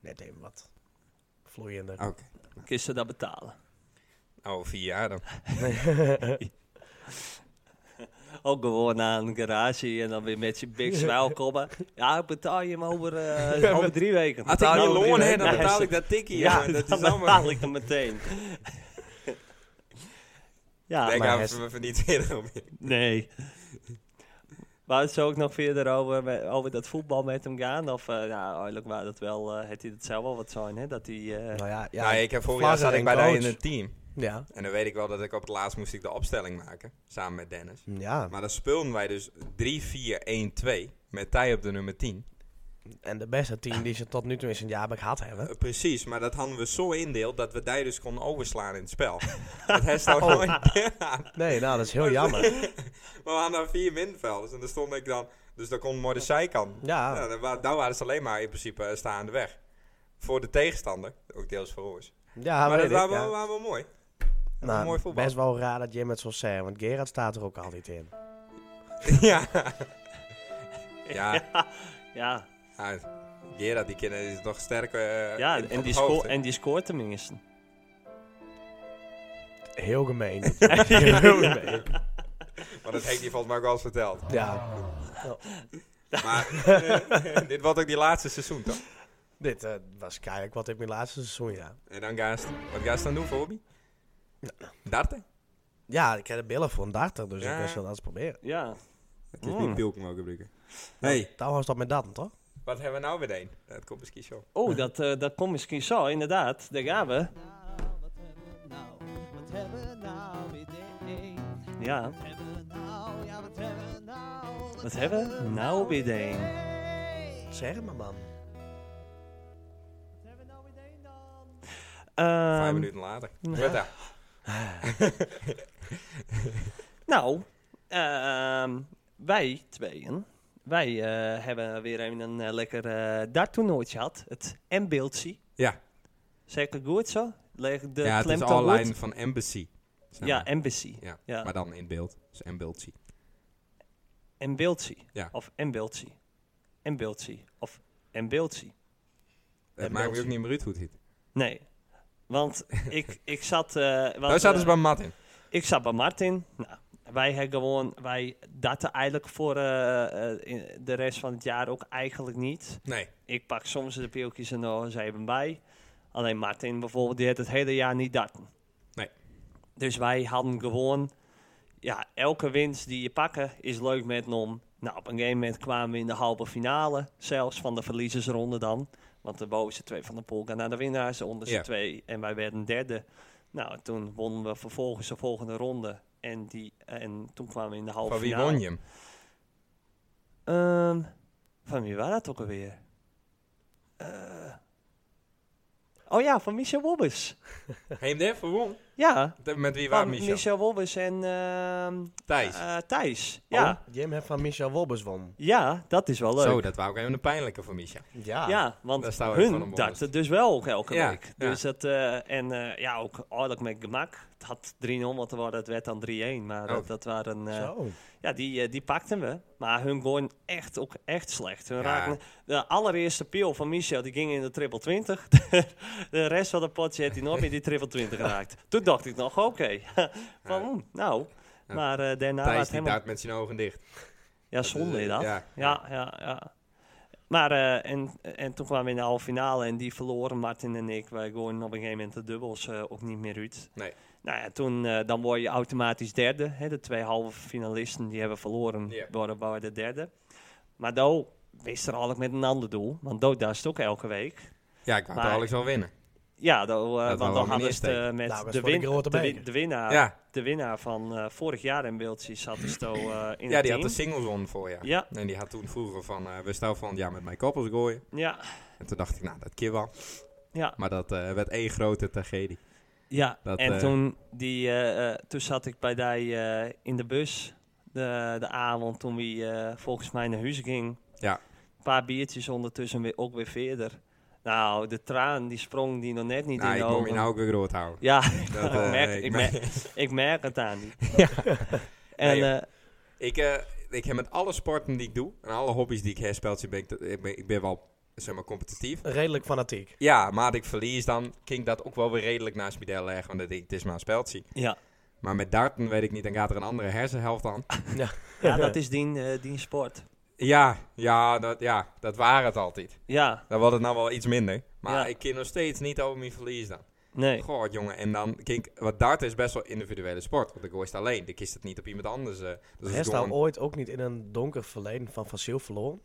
Speaker 3: net even wat vloeiender.
Speaker 2: Oké.
Speaker 1: Kun je dat betalen?
Speaker 2: Oh, vier jaar dan.
Speaker 1: Ook gewoon naar een garage en dan weer met je big zwaal komen. Ja, ik betaal je hem over, eh, over drie weken.
Speaker 2: Had ik
Speaker 1: Betaal je
Speaker 2: niet
Speaker 1: over drie
Speaker 2: loon, hè,
Speaker 1: weken.
Speaker 2: dan
Speaker 1: Ja,
Speaker 2: betaal
Speaker 1: ze-
Speaker 2: ik dat tikkie.
Speaker 1: Ja,
Speaker 2: jongen. dat
Speaker 1: dan
Speaker 2: is allemaal...
Speaker 1: betaal ik hem meteen. ja,
Speaker 2: Daar
Speaker 1: maar-
Speaker 2: gaan
Speaker 3: hij is-
Speaker 2: we even niet verder op in.
Speaker 1: nee. Maar het zou ook nog verder over, met- over dat voetbal met hem gaan? Of eh nou, eigenlijk waar dat wel, eh had hij dat zelf wel wat zijn, hè? Dat hij... eh,
Speaker 3: Nou ja, ja,
Speaker 2: Ja, ik heb vorig jaar
Speaker 3: vlaggen
Speaker 2: zat ik
Speaker 3: en
Speaker 2: bij daar in
Speaker 3: coach.
Speaker 2: een team.
Speaker 3: Ja.
Speaker 2: En dan weet ik wel dat ik op het laatst moest ik de opstelling maken, samen met Dennis.
Speaker 3: Ja.
Speaker 2: Maar dan speelden wij dus 3-4-1-2 met Thij op de nummer 10.
Speaker 3: En de beste team die ze tot nu toe in zijn jaar gehad hebben.
Speaker 2: Eh, Precies, maar dat hadden we zo indeeld dat we daar dus konden overslaan in het spel. dat hij staat
Speaker 3: Oh.
Speaker 2: nooit. Ja,
Speaker 3: Nee, nou, dat is heel jammer.
Speaker 2: maar we hadden dan vier middenvelders en dan stond ik dan. Dus dan kon Mordecai kan.
Speaker 3: Ja.
Speaker 2: Nou, dan, wa- daar waren ze alleen maar in principe eh, staande weg. Voor de tegenstander, ook deels voor ons.
Speaker 3: Ja,
Speaker 2: maar
Speaker 3: weet
Speaker 2: dat
Speaker 3: ik,
Speaker 2: waren
Speaker 3: ja.
Speaker 2: wel, waren wel mooi.
Speaker 3: Nou,
Speaker 2: was mooi voetbal.
Speaker 3: Best wel raar dat je met zo'n zegt, want Gerard staat er ook altijd in.
Speaker 2: ja. ja.
Speaker 1: Ja,
Speaker 2: ja. Gerard, die kinderen is nog sterker. eh,
Speaker 1: ja
Speaker 2: in-
Speaker 1: en,
Speaker 2: op
Speaker 1: die
Speaker 2: het hoofd,
Speaker 1: sco-
Speaker 2: hè.
Speaker 1: en die scoort tenminste.
Speaker 3: Heel gemeen. heel gemeen.
Speaker 2: Maar dat heeft hij volgens mij ook wel eens verteld.
Speaker 3: Ja,
Speaker 2: Maar eh, dit was ook die laatste seizoen toch?
Speaker 3: dit eh, was keihard wat ik mijn laatste seizoen, ja.
Speaker 2: En dan gaast. Wat ga je dan doen voor hobby? Darten?
Speaker 3: Ja, ik heb de billen voor een darter, dus
Speaker 2: Ja.
Speaker 3: ik wist wel dat eens proberen.
Speaker 1: Ja,
Speaker 2: Het
Speaker 1: is niet Mm.
Speaker 2: pilken mogen gebruiken. Hey,
Speaker 3: Trouwens, dat met dat, toch?
Speaker 2: wat hebben we nou weer een? Dat komt misschien zo.
Speaker 1: oh, dat, eh, dat komt misschien zo, inderdaad. Daar gaan we.
Speaker 4: Nou, wat hebben we nou? Wat hebben we nou weer deed?
Speaker 1: Ja,
Speaker 4: Wat hebben we nou? Ja, wat hebben we nou?
Speaker 1: wat hebben we nou weer deen?
Speaker 4: deed?
Speaker 3: Zeg het maar, man.
Speaker 4: Wat hebben we nou weer deed dan?
Speaker 2: Vijf
Speaker 1: Ehm
Speaker 2: minuten later. Wat dan?
Speaker 1: nou, ehm, wij tweeën, wij eh, hebben weer even een eh, lekker eh darttoernooitje gehad. Het M-beeldje.
Speaker 2: Ja,
Speaker 1: Zeg ik het goed zo? Leg ik de
Speaker 2: ja het is
Speaker 1: klemtoon goed?
Speaker 2: online van Embassy. zeg
Speaker 1: Ja,
Speaker 2: maar.
Speaker 1: Embassy.
Speaker 2: ja.
Speaker 1: ja.
Speaker 2: maar dan in beeld. Dus Embassy.
Speaker 1: Embeeldsie.
Speaker 2: Ja.
Speaker 1: Of Embeeldsie. Embeeldsie. Of Embeeldsie.
Speaker 2: Het maakt me
Speaker 3: Embassy.
Speaker 2: ook niet meer uit hoe het heet.
Speaker 1: Nee. Want ik, ik zat... eh want,
Speaker 2: Daar zaten
Speaker 1: eh,
Speaker 2: ze bij Martin.
Speaker 1: Ik zat bij Martin. Nou, wij hebben gewoon... Wij datten eigenlijk voor eh, eh, in- de rest van het jaar ook eigenlijk niet.
Speaker 2: Nee.
Speaker 1: Ik pak soms de pilkjes en nog eens even bij. Alleen Martin bijvoorbeeld, die had het hele jaar niet darten.
Speaker 2: Nee.
Speaker 1: Dus wij hadden gewoon... Ja, elke winst die je pakken is leuk met NOM. Nou, op een gegeven moment kwamen we in de halve finale. Zelfs van de verliezersronde dan. Want de bovenste twee van de pool gaan naar de winnaars. De onderste
Speaker 2: Ja.
Speaker 1: twee. En wij werden derde. Nou, toen wonnen we vervolgens de volgende ronde. En, die, en toen kwamen we in de halve
Speaker 2: Van wie
Speaker 1: finale.
Speaker 2: won je hem?
Speaker 1: Ehm, van wie was dat ook alweer? Eh, oh ja, van Michel Wobbes.
Speaker 2: Heem de even won.
Speaker 1: Ja,
Speaker 2: De- Met wie
Speaker 1: van
Speaker 2: waren
Speaker 1: Michel,
Speaker 2: Michel?
Speaker 1: Wobbes en ehm,
Speaker 2: Thijs.
Speaker 1: eh, Thijs. Ja.
Speaker 3: Oh, Jim heeft van Michel Wobbes won.
Speaker 1: ja, dat is wel leuk.
Speaker 2: Zo, dat was ook even een pijnlijke voor Michel.
Speaker 3: Ja.
Speaker 1: Ja,
Speaker 2: Daar
Speaker 1: want
Speaker 2: staan we even van
Speaker 1: hun
Speaker 2: op
Speaker 1: darten dus wel ook elke
Speaker 2: Ja,
Speaker 1: week.
Speaker 2: ja.
Speaker 1: Dus dat, eh, en eh, ja, ook aardig met gemak. Het had 3-0 moeten worden, het werd dan 3-1. Maar eh,
Speaker 2: Oh.
Speaker 1: dat waren... eh,
Speaker 3: Zo.
Speaker 1: Ja, die, eh, die pakten we. Maar hun gooien echt ook echt slecht. Hun
Speaker 2: Ja.
Speaker 1: raakten, de allereerste pil van Michel die ging in de triple 20. de rest van de potje heeft hij nooit meer die triple 20 geraakt. Toen dacht ik nog, oké. van,
Speaker 2: Ja.
Speaker 1: mm, nou,
Speaker 2: Ja.
Speaker 1: maar eh, daarna was
Speaker 2: Thijs
Speaker 1: het
Speaker 2: die
Speaker 1: helemaal...
Speaker 2: daart met zijn ogen dicht.
Speaker 1: Ja, zonde
Speaker 2: eh,
Speaker 1: dat.
Speaker 2: ja.
Speaker 1: Ja, ja, ja. Maar, eh, en, en toen kwamen we in de halve finale en die verloren Martin en ik. Wij gooien op een gegeven moment de dubbels eh, ook niet meer uit.
Speaker 2: Nee.
Speaker 1: Nou ja, toen, eh, dan word je automatisch derde. Hè? De twee halve finalisten die hebben verloren,
Speaker 2: Ja.
Speaker 1: worden worden de derde. Maar Do wist er eigenlijk met een ander doel, want Do daast ook elke week.
Speaker 2: Ja, ik wou het
Speaker 1: Maar-
Speaker 2: Alex wel winnen.
Speaker 1: Ja, Do, eh, want
Speaker 2: Dat wou wel
Speaker 1: dan hadden ze het,
Speaker 2: meneer
Speaker 1: eh, met
Speaker 3: Nou, dat
Speaker 1: de,
Speaker 3: is voor de
Speaker 1: win-
Speaker 3: grote
Speaker 1: de, win-
Speaker 3: beker.
Speaker 1: de winnaar,
Speaker 2: ja,
Speaker 1: de winnaar van eh, vorig jaar in Beeldsie zat dus Do eh, in
Speaker 2: ja
Speaker 1: het
Speaker 2: die had
Speaker 1: team.
Speaker 2: de singles on voor ja.
Speaker 1: Ja,
Speaker 2: En die had toen vroeger van, eh, we staan van, ja, met mijn koppels gooien.
Speaker 1: ja,
Speaker 2: En toen dacht ik, nou, dat keer wel.
Speaker 1: ja.
Speaker 2: Maar dat eh, werd één grote tragedie.
Speaker 1: Ja,
Speaker 2: Dat,
Speaker 1: en
Speaker 2: eh,
Speaker 1: toen, die, eh, eh, toen zat ik bij die eh, in de bus de, de avond toen we eh, volgens mij naar huis ging.
Speaker 2: Ja.
Speaker 1: Een paar biertjes ondertussen weer, ook weer verder. Nou, de traan die sprong die nog net niet
Speaker 2: nou,
Speaker 1: in
Speaker 2: ik
Speaker 1: de
Speaker 2: moet
Speaker 1: ogen.
Speaker 2: me nou ook weer groot houden.
Speaker 1: Ja,
Speaker 2: Dat,
Speaker 1: ik,
Speaker 2: eh,
Speaker 1: merk, ik, merk, ik merk het aan die. En
Speaker 2: Nee,
Speaker 1: eh,
Speaker 2: ik, eh, ik heb met alle sporten die ik doe, en alle hobby's die ik herspeld, ben ik, dat- ik, ben, ik ben wel, zeg maar, competitief.
Speaker 3: Redelijk fanatiek.
Speaker 2: Ja, maar ik verlies, dan ging ik dat ook wel weer redelijk naast me deel leggen, want ik, denk, het is maar een speltje.
Speaker 1: ja.
Speaker 2: Maar met darten weet ik niet, dan gaat er een andere hersenhelft aan.
Speaker 1: ja, dat is die, eh, die sport.
Speaker 2: Ja, ja, dat, ja, dat waren het altijd.
Speaker 1: Ja,
Speaker 2: Dan was het nou wel iets minder. Maar
Speaker 1: Ja.
Speaker 2: ik ken nog steeds niet over mijn verlies dan.
Speaker 1: nee.
Speaker 2: Goh, jongen. En dan, kijk, wat darten is best wel individuele sport. Want ik hoor het alleen. Ik kist het niet op iemand anders. eh. Dus
Speaker 3: Heeft
Speaker 2: gewoon-
Speaker 3: nou ooit ook niet in een donker verleden van Fasiel verloren?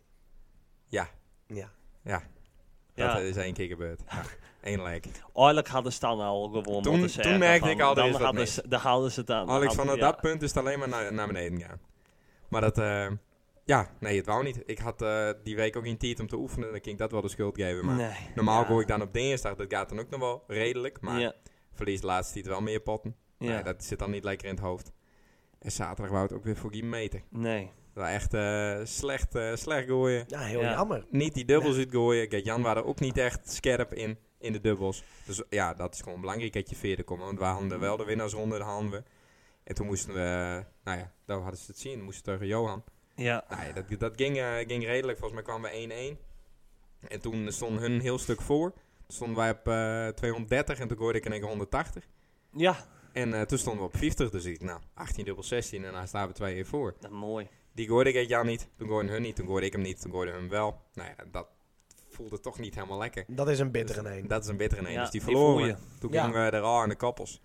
Speaker 2: Ja.
Speaker 3: Ja.
Speaker 2: Ja.
Speaker 1: Ja.
Speaker 2: Dat is één keer gebeurd. Ja, Eén lek.
Speaker 1: Oorlijk hadden ze dan al gewonnen.
Speaker 2: Toen-
Speaker 1: dus, eh,
Speaker 2: toen merkte
Speaker 1: dan-
Speaker 2: ik al, er
Speaker 1: dan
Speaker 2: is wat
Speaker 1: hadden
Speaker 2: mis.
Speaker 1: ze, dan haalden ze het aan.
Speaker 2: Alex,
Speaker 1: Hadden-
Speaker 2: vanaf
Speaker 1: ja.
Speaker 2: dat punt is het alleen maar naar, naar beneden gaan. Maar dat, eh, ja, nee, het wou niet. Ik had eh, die week ook in tijd om te oefenen. Dan ging ik dat wel de schuld geven. Maar
Speaker 1: Nee.
Speaker 2: normaal
Speaker 1: ja.
Speaker 2: gooi ik dan op dinsdag. Dat gaat dan ook nog wel redelijk. Maar
Speaker 1: Ja.
Speaker 2: verlies laatst tiet wel meer potten.
Speaker 1: ja.
Speaker 2: Nee, dat zit dan niet lekker in het hoofd. En zaterdag wou het ook weer voor die meter.
Speaker 1: nee.
Speaker 2: Dat was echt eh, slecht, eh, slecht gooien.
Speaker 3: Ja, heel
Speaker 1: Ja.
Speaker 3: jammer.
Speaker 2: Niet die dubbels uitgooien. Kijk, Jan waren ook niet echt scherp in, in de dubbels. Dus ja, dat is gewoon belangrijk dat je verder komt. Want we hadden wel de winnaarsronde, dat hadden we. En toen moesten we, nou ja, daar hadden ze het zien. Moesten tegen Johan.
Speaker 1: Ja.
Speaker 2: Nou ja, dat, dat ging, eh, ging redelijk. Volgens mij kwamen we 1-1. En toen stonden hun een heel stuk voor. Toen stonden wij op eh, 230 en toen gooide ik in één keer 180.
Speaker 1: Ja.
Speaker 2: En eh, toen stonden we op 50, dus ik, nou, 18 dubbel 16 en daar staan we twee keer voor.
Speaker 1: Dat mooi.
Speaker 2: Die gooide ik het jaar niet, toen gooide hun niet, toen gooide ik hem niet, toen gooide hun wel. Nou ja, dat voelde toch niet helemaal lekker.
Speaker 3: Dat is een bittere nee.
Speaker 2: Dat is een bittere nee,
Speaker 1: Ja,
Speaker 2: dus die
Speaker 1: die voel
Speaker 2: verloren. toen
Speaker 3: Ja.
Speaker 2: gingen we er al aan de koppels.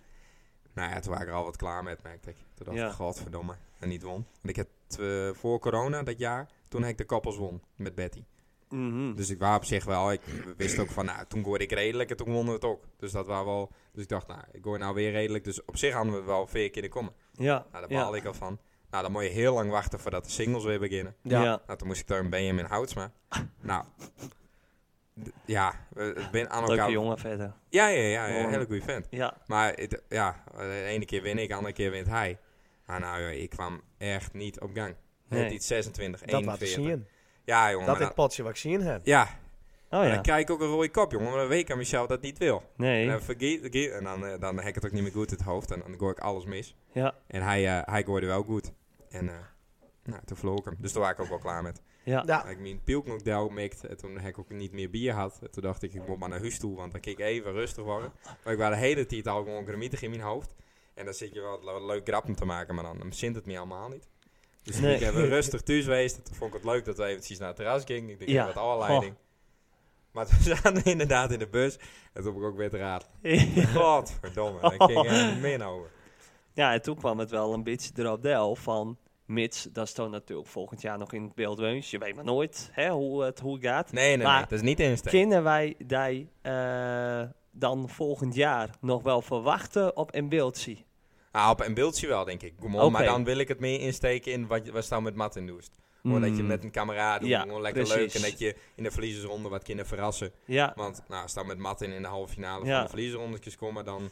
Speaker 2: Nou ja, toen waren we er al wat klaar met, merkte ik. Toen dacht
Speaker 1: Ja.
Speaker 2: ik, godverdomme, en niet won. Want ik had eh, voor corona dat jaar, toen heb ik de koppels won met Betty.
Speaker 1: Mhm.
Speaker 2: Dus ik was op zich wel, ik wist ook van, nou, toen gooide ik redelijk en toen wonnen we het ook. Dus dat was wel, dus ik dacht, nou, ik gooi nou weer redelijk. Dus op zich hadden we wel vier keer de komen.
Speaker 1: Ja.
Speaker 2: Nou, daar
Speaker 1: ja.
Speaker 2: baal ik al van. Nou, dan moet je heel lang wachten voordat de singles weer beginnen.
Speaker 1: Ja.
Speaker 3: Ja.
Speaker 2: Nou, toen moest ik daar een Benjamin Houtsma. nou, d- ja, we- het ben aan elkaar.
Speaker 1: Leuke jongen verder.
Speaker 2: Ja, ja, ja, ja,
Speaker 1: Mooi.
Speaker 2: een hele goede vent.
Speaker 1: Ja.
Speaker 2: Maar het, ja, de ene keer win ik, de andere keer wint hij. Nou, nou, joh, ik kwam echt niet op gang.
Speaker 1: Nee.
Speaker 2: Het iets 26,
Speaker 3: Dat laat ik
Speaker 2: 41.
Speaker 3: zien.
Speaker 2: ja, jongen. maar
Speaker 3: Dat
Speaker 2: nou.
Speaker 3: ik het potje wat ik zien heb.
Speaker 2: dan- ja,
Speaker 1: Oh
Speaker 2: dan
Speaker 1: ja.
Speaker 2: krijg ik ook een rode kop, jongen. Maar dan weet ik aan Michel dat niet wil. En
Speaker 1: Nee.
Speaker 2: dan, vergeet, vergeet- en dan, eh, dan heb ik het ook niet meer goed in het hoofd. En dan gooi ik alles mis.
Speaker 1: Ja.
Speaker 2: En hij, eh, hij gooide wel goed. En eh, nou, toen verloor ik hem. Dus toen was ik ook wel klaar met.
Speaker 1: Ja.
Speaker 3: Ja,
Speaker 2: Ik mijn pielknokdel mikt. En toen heb ik ook niet meer bier had. En toen dacht ik, ik moet maar naar huis toe. Want dan kan ik even rustig worden. Maar ik was de hele tijd al gewoon gramietig in mijn hoofd. En dan zit je wel le- leuk grappen te maken. Maar dan dan zint het me allemaal niet. Dus
Speaker 1: Nee.
Speaker 2: ik heb wel rustig thuis geweest. En toen vond ik het leuk dat we eventjes naar het terras gingen. Ik denk,
Speaker 1: Ja.
Speaker 2: ja. wat allerleiding. Maar toen zaten we inderdaad in de bus. En toen heb ik ook weer te raad. Godverdomme. Daar ging er meer over.
Speaker 1: Ja, en toen kwam het wel een beetje erop del van... Mits, dat is dan natuurlijk volgend jaar nog in het beeld wees. Je weet maar nooit hè, hoe, het, hoe het gaat.
Speaker 2: Nee, nee,
Speaker 1: Maar-
Speaker 2: nee. Dat is niet insteken.
Speaker 1: Kunnen wij die, eh, dan volgend jaar nog wel verwachten op een beeldje?
Speaker 2: Ah, op een beeldje wel, denk ik. Kom on,
Speaker 1: Oké.
Speaker 2: Maar dan wil ik het meer insteken in wat, je- wat je nou met Martin doet. Gewoon dat je
Speaker 1: Mm.
Speaker 2: met een camera doet,
Speaker 1: Ja,
Speaker 2: gewoon lekker
Speaker 1: precies.
Speaker 2: leuk. En dat je in de verliezersronde wat kinderen verrassen.
Speaker 1: Ja,
Speaker 2: Want nou, als dan met Martin in de halve finale
Speaker 1: Ja.
Speaker 2: van de verliezersrondetjes komen, dan... moet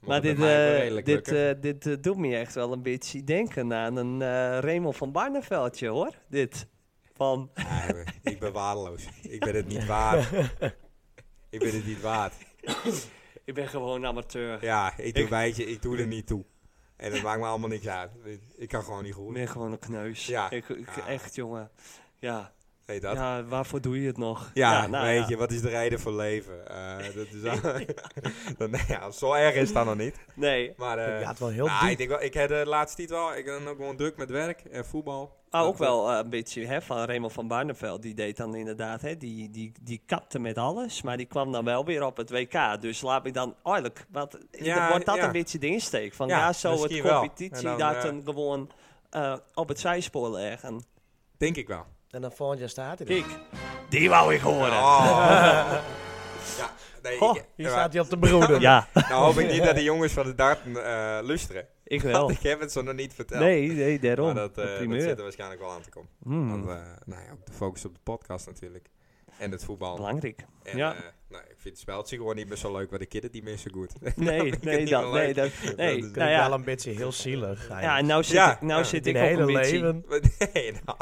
Speaker 1: maar
Speaker 2: het
Speaker 1: dit,
Speaker 2: bij mij wel
Speaker 1: eh,
Speaker 2: redelijk
Speaker 1: dit,
Speaker 2: lukken.
Speaker 1: eh, dit eh, doet me echt wel een beetje denken aan een eh Raymond van Barneveldje, hoor. Dit. Van,
Speaker 2: Ah, jongen, ik ben waardeloos. Ik ben het niet waard. ik ben het niet waard.
Speaker 1: ik ben gewoon amateur.
Speaker 2: Ja, ik doe
Speaker 1: Ik-
Speaker 2: wijtje, ik doe er niet toe. En dat maakt me allemaal niks uit. Ik kan gewoon niet
Speaker 1: Ik
Speaker 2: goed.
Speaker 1: ben gewoon een kneus.
Speaker 2: Ja.
Speaker 1: Ik, ik-
Speaker 2: Ah.
Speaker 1: Echt, jongen. Ja.
Speaker 2: Weet dat? Ja,
Speaker 1: ja, waarvoor doe je het nog? nou
Speaker 2: weet
Speaker 1: ja.
Speaker 2: je, wat is de reden voor leven? Eh, dat is al- dan, nou ja, zo erg is het dan nog niet.
Speaker 1: Nee.
Speaker 2: Maar eh,
Speaker 3: ja, het wel heel
Speaker 2: nou, ik
Speaker 3: diep.
Speaker 2: denk wel, ik had de laatste tijd wel, ik ben ook gewoon druk met werk en voetbal.
Speaker 1: Ah,
Speaker 2: Dat,
Speaker 1: ook wel eh, een beetje hè, van Raymond van Barneveld. Die deed dan inderdaad, hè, die, die, die kapte met alles. Maar die kwam dan wel weer op het WK. Dus laat ik dan eigenlijk, wat,
Speaker 2: Ja,
Speaker 1: wordt dat
Speaker 2: ja.
Speaker 1: een beetje de insteek? Van ja,
Speaker 2: Ja,
Speaker 1: zo het
Speaker 2: misschien wel. En
Speaker 1: competitie
Speaker 2: dan,
Speaker 1: daar
Speaker 2: eh,
Speaker 1: dan gewoon eh, op het zijspoor leggen.
Speaker 2: eh, Denk ik wel.
Speaker 3: En dan volgend jaar staat hij er.
Speaker 1: Kijk, die wou ik horen.
Speaker 2: Oh. ja, nee,
Speaker 1: Oh,
Speaker 2: ik,
Speaker 3: Hier
Speaker 2: eh,
Speaker 3: staat hij op de broeder.
Speaker 1: Ja,
Speaker 2: nou hoop ik niet dat de jongens van de darten eh lusteren.
Speaker 1: ik
Speaker 2: Want
Speaker 1: wel.
Speaker 2: ik heb het zo nog niet verteld.
Speaker 1: Nee, nee,
Speaker 2: maar
Speaker 1: daarom.
Speaker 2: dat, eh,
Speaker 1: Een
Speaker 2: dat
Speaker 1: primeur.
Speaker 2: zit er waarschijnlijk wel aan te komen.
Speaker 1: Hmm,
Speaker 2: Want, eh, nou ja, ook de focus op de podcast natuurlijk. En het voetbal.
Speaker 1: belangrijk.
Speaker 2: En,
Speaker 1: ja.
Speaker 2: eh, nou, ik vind het speltje gewoon niet meer zo leuk, maar de kinderen niet meer zo goed. Dat
Speaker 1: nee,
Speaker 2: vind ik
Speaker 1: nee,
Speaker 2: niet
Speaker 1: dat,
Speaker 2: meer
Speaker 1: nee,
Speaker 2: leuk.
Speaker 1: dat, nee.
Speaker 2: Dat is
Speaker 1: nou
Speaker 3: Nou
Speaker 1: ja,
Speaker 3: Wel een beetje heel zielig.
Speaker 1: ja, en nou zit
Speaker 2: Ja,
Speaker 1: ik, nou
Speaker 2: ja.
Speaker 1: zit
Speaker 3: in
Speaker 1: ik ook
Speaker 3: hele
Speaker 1: een beetje...
Speaker 3: leven.
Speaker 2: nee, nou,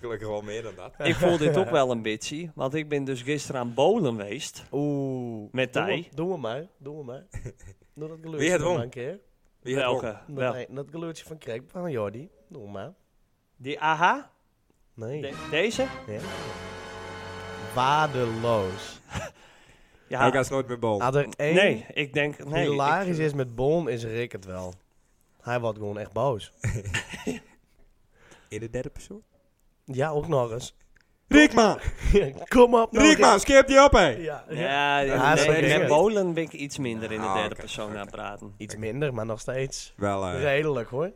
Speaker 2: gelukkig wel meer dan dat.
Speaker 1: Ik voel dit ook wel een beetje, want ik ben dus gisteren aan bowlen geweest.
Speaker 3: Oeh.
Speaker 1: Met
Speaker 3: Doe
Speaker 1: Thij.
Speaker 3: hem- Doe hem maar. Doe hem maar. Doe dat geluidje
Speaker 2: Wie het
Speaker 3: nog
Speaker 2: won?
Speaker 3: maar een keer.
Speaker 2: Wie had gewonnen?
Speaker 1: Welke?
Speaker 3: Dat,
Speaker 1: Wel.
Speaker 3: nee, dat geluidje van Krek van Jordi. Doe hem maar.
Speaker 1: Die AH?
Speaker 3: Nee.
Speaker 1: De- deze?
Speaker 3: Ja. Waardeloos.
Speaker 1: Ja.
Speaker 2: Ook als nooit meer bol.
Speaker 3: Had er één
Speaker 1: Nee, ik denk... Nee, ik-
Speaker 3: hilarisch is met Bon, is Rick het wel. Hij wordt gewoon echt boos.
Speaker 2: In de derde persoon?
Speaker 3: Ja, ook nog eens.
Speaker 2: Riekma!
Speaker 3: Kom op nou, Rick.
Speaker 2: Riekma, skip die op, hé!
Speaker 3: Ja, ja.
Speaker 1: Ja,
Speaker 3: Ja,
Speaker 1: nee,
Speaker 3: dat is
Speaker 1: met
Speaker 3: niet.
Speaker 1: bowlen ben ik iets minder in de
Speaker 2: Ah,
Speaker 1: derde
Speaker 2: oké,
Speaker 1: persoon
Speaker 2: oké.
Speaker 1: aan praten.
Speaker 3: Iets minder, maar nog steeds
Speaker 2: Wel, eh,
Speaker 3: redelijk hoor.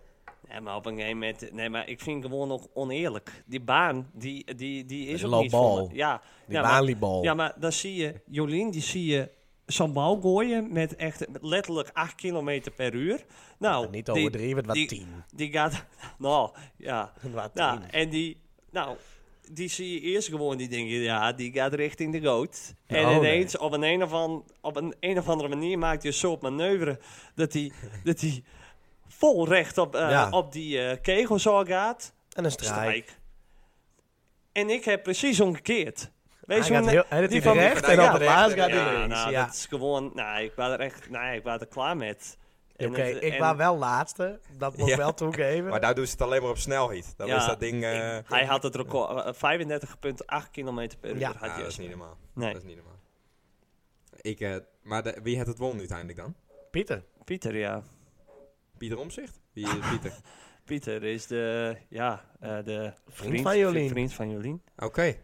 Speaker 1: Ja, maar op een gegeven moment... Nee, maar ik vind het gewoon nog oneerlijk. Die baan, die, die, die is
Speaker 3: Een
Speaker 1: ook niet
Speaker 3: loopbal.
Speaker 1: voor me. Ja,
Speaker 3: Die
Speaker 1: ja, maar-
Speaker 3: Baliebal.
Speaker 1: Ja, maar dan zie je Jolien, die zie je zo'n bal gooien met echt met letterlijk 8 km per uur. Nou,
Speaker 3: niet
Speaker 1: die-
Speaker 3: overdreven, het was
Speaker 1: die-
Speaker 3: tien.
Speaker 1: Die gaat, nou ja.
Speaker 3: Het was
Speaker 1: Nou,
Speaker 3: tien.
Speaker 1: en die, nou, die zie je eerst gewoon, die denk je, ja, die gaat richting de goot. En
Speaker 3: Oh,
Speaker 1: ineens, op, een een of an- op een een of andere manier maakt je soort manoeuvre dat die, dat die vol recht op, eh,
Speaker 3: Ja.
Speaker 1: op die eh, kegel zo gaat.
Speaker 3: En een strijk.
Speaker 1: Strijk. En ik heb precies omgekeerd.
Speaker 3: Hij
Speaker 1: Weet je
Speaker 3: gaat
Speaker 1: hoe-
Speaker 3: heel, hij
Speaker 1: die
Speaker 3: doet
Speaker 1: van-
Speaker 3: hij recht
Speaker 2: die
Speaker 3: en
Speaker 2: van-
Speaker 3: op de
Speaker 2: ja,
Speaker 3: laatst
Speaker 2: ja,
Speaker 3: gaat hij
Speaker 1: Ja,
Speaker 3: links.
Speaker 1: nou,
Speaker 3: ja.
Speaker 1: dat is gewoon... Nou, ik was er echt... Nee, ik was er klaar met.
Speaker 3: Oké,
Speaker 1: En het-
Speaker 3: ik
Speaker 1: en-
Speaker 3: was wel laatste. Dat moet ik
Speaker 2: Ja.
Speaker 3: wel toegeven.
Speaker 2: Maar daar doen ze het alleen maar op snelheid. Dan
Speaker 1: Ja,
Speaker 2: is dat ding... eh,
Speaker 1: Hij had het record... eh, 35,8 km per uur
Speaker 3: Ja.
Speaker 1: had
Speaker 2: nou,
Speaker 1: hij.
Speaker 2: dat is niet normaal.
Speaker 1: Nee.
Speaker 2: Dat is niet normaal. Ik, eh, maar de- wie had het won uiteindelijk dan?
Speaker 3: Pieter.
Speaker 1: Pieter, ja.
Speaker 2: Pieter Omzicht? Wie is Pieter?
Speaker 1: Pieter is de... Ja, eh, de...
Speaker 3: van Jolien.
Speaker 1: Vriend van Jolien.
Speaker 2: Oké.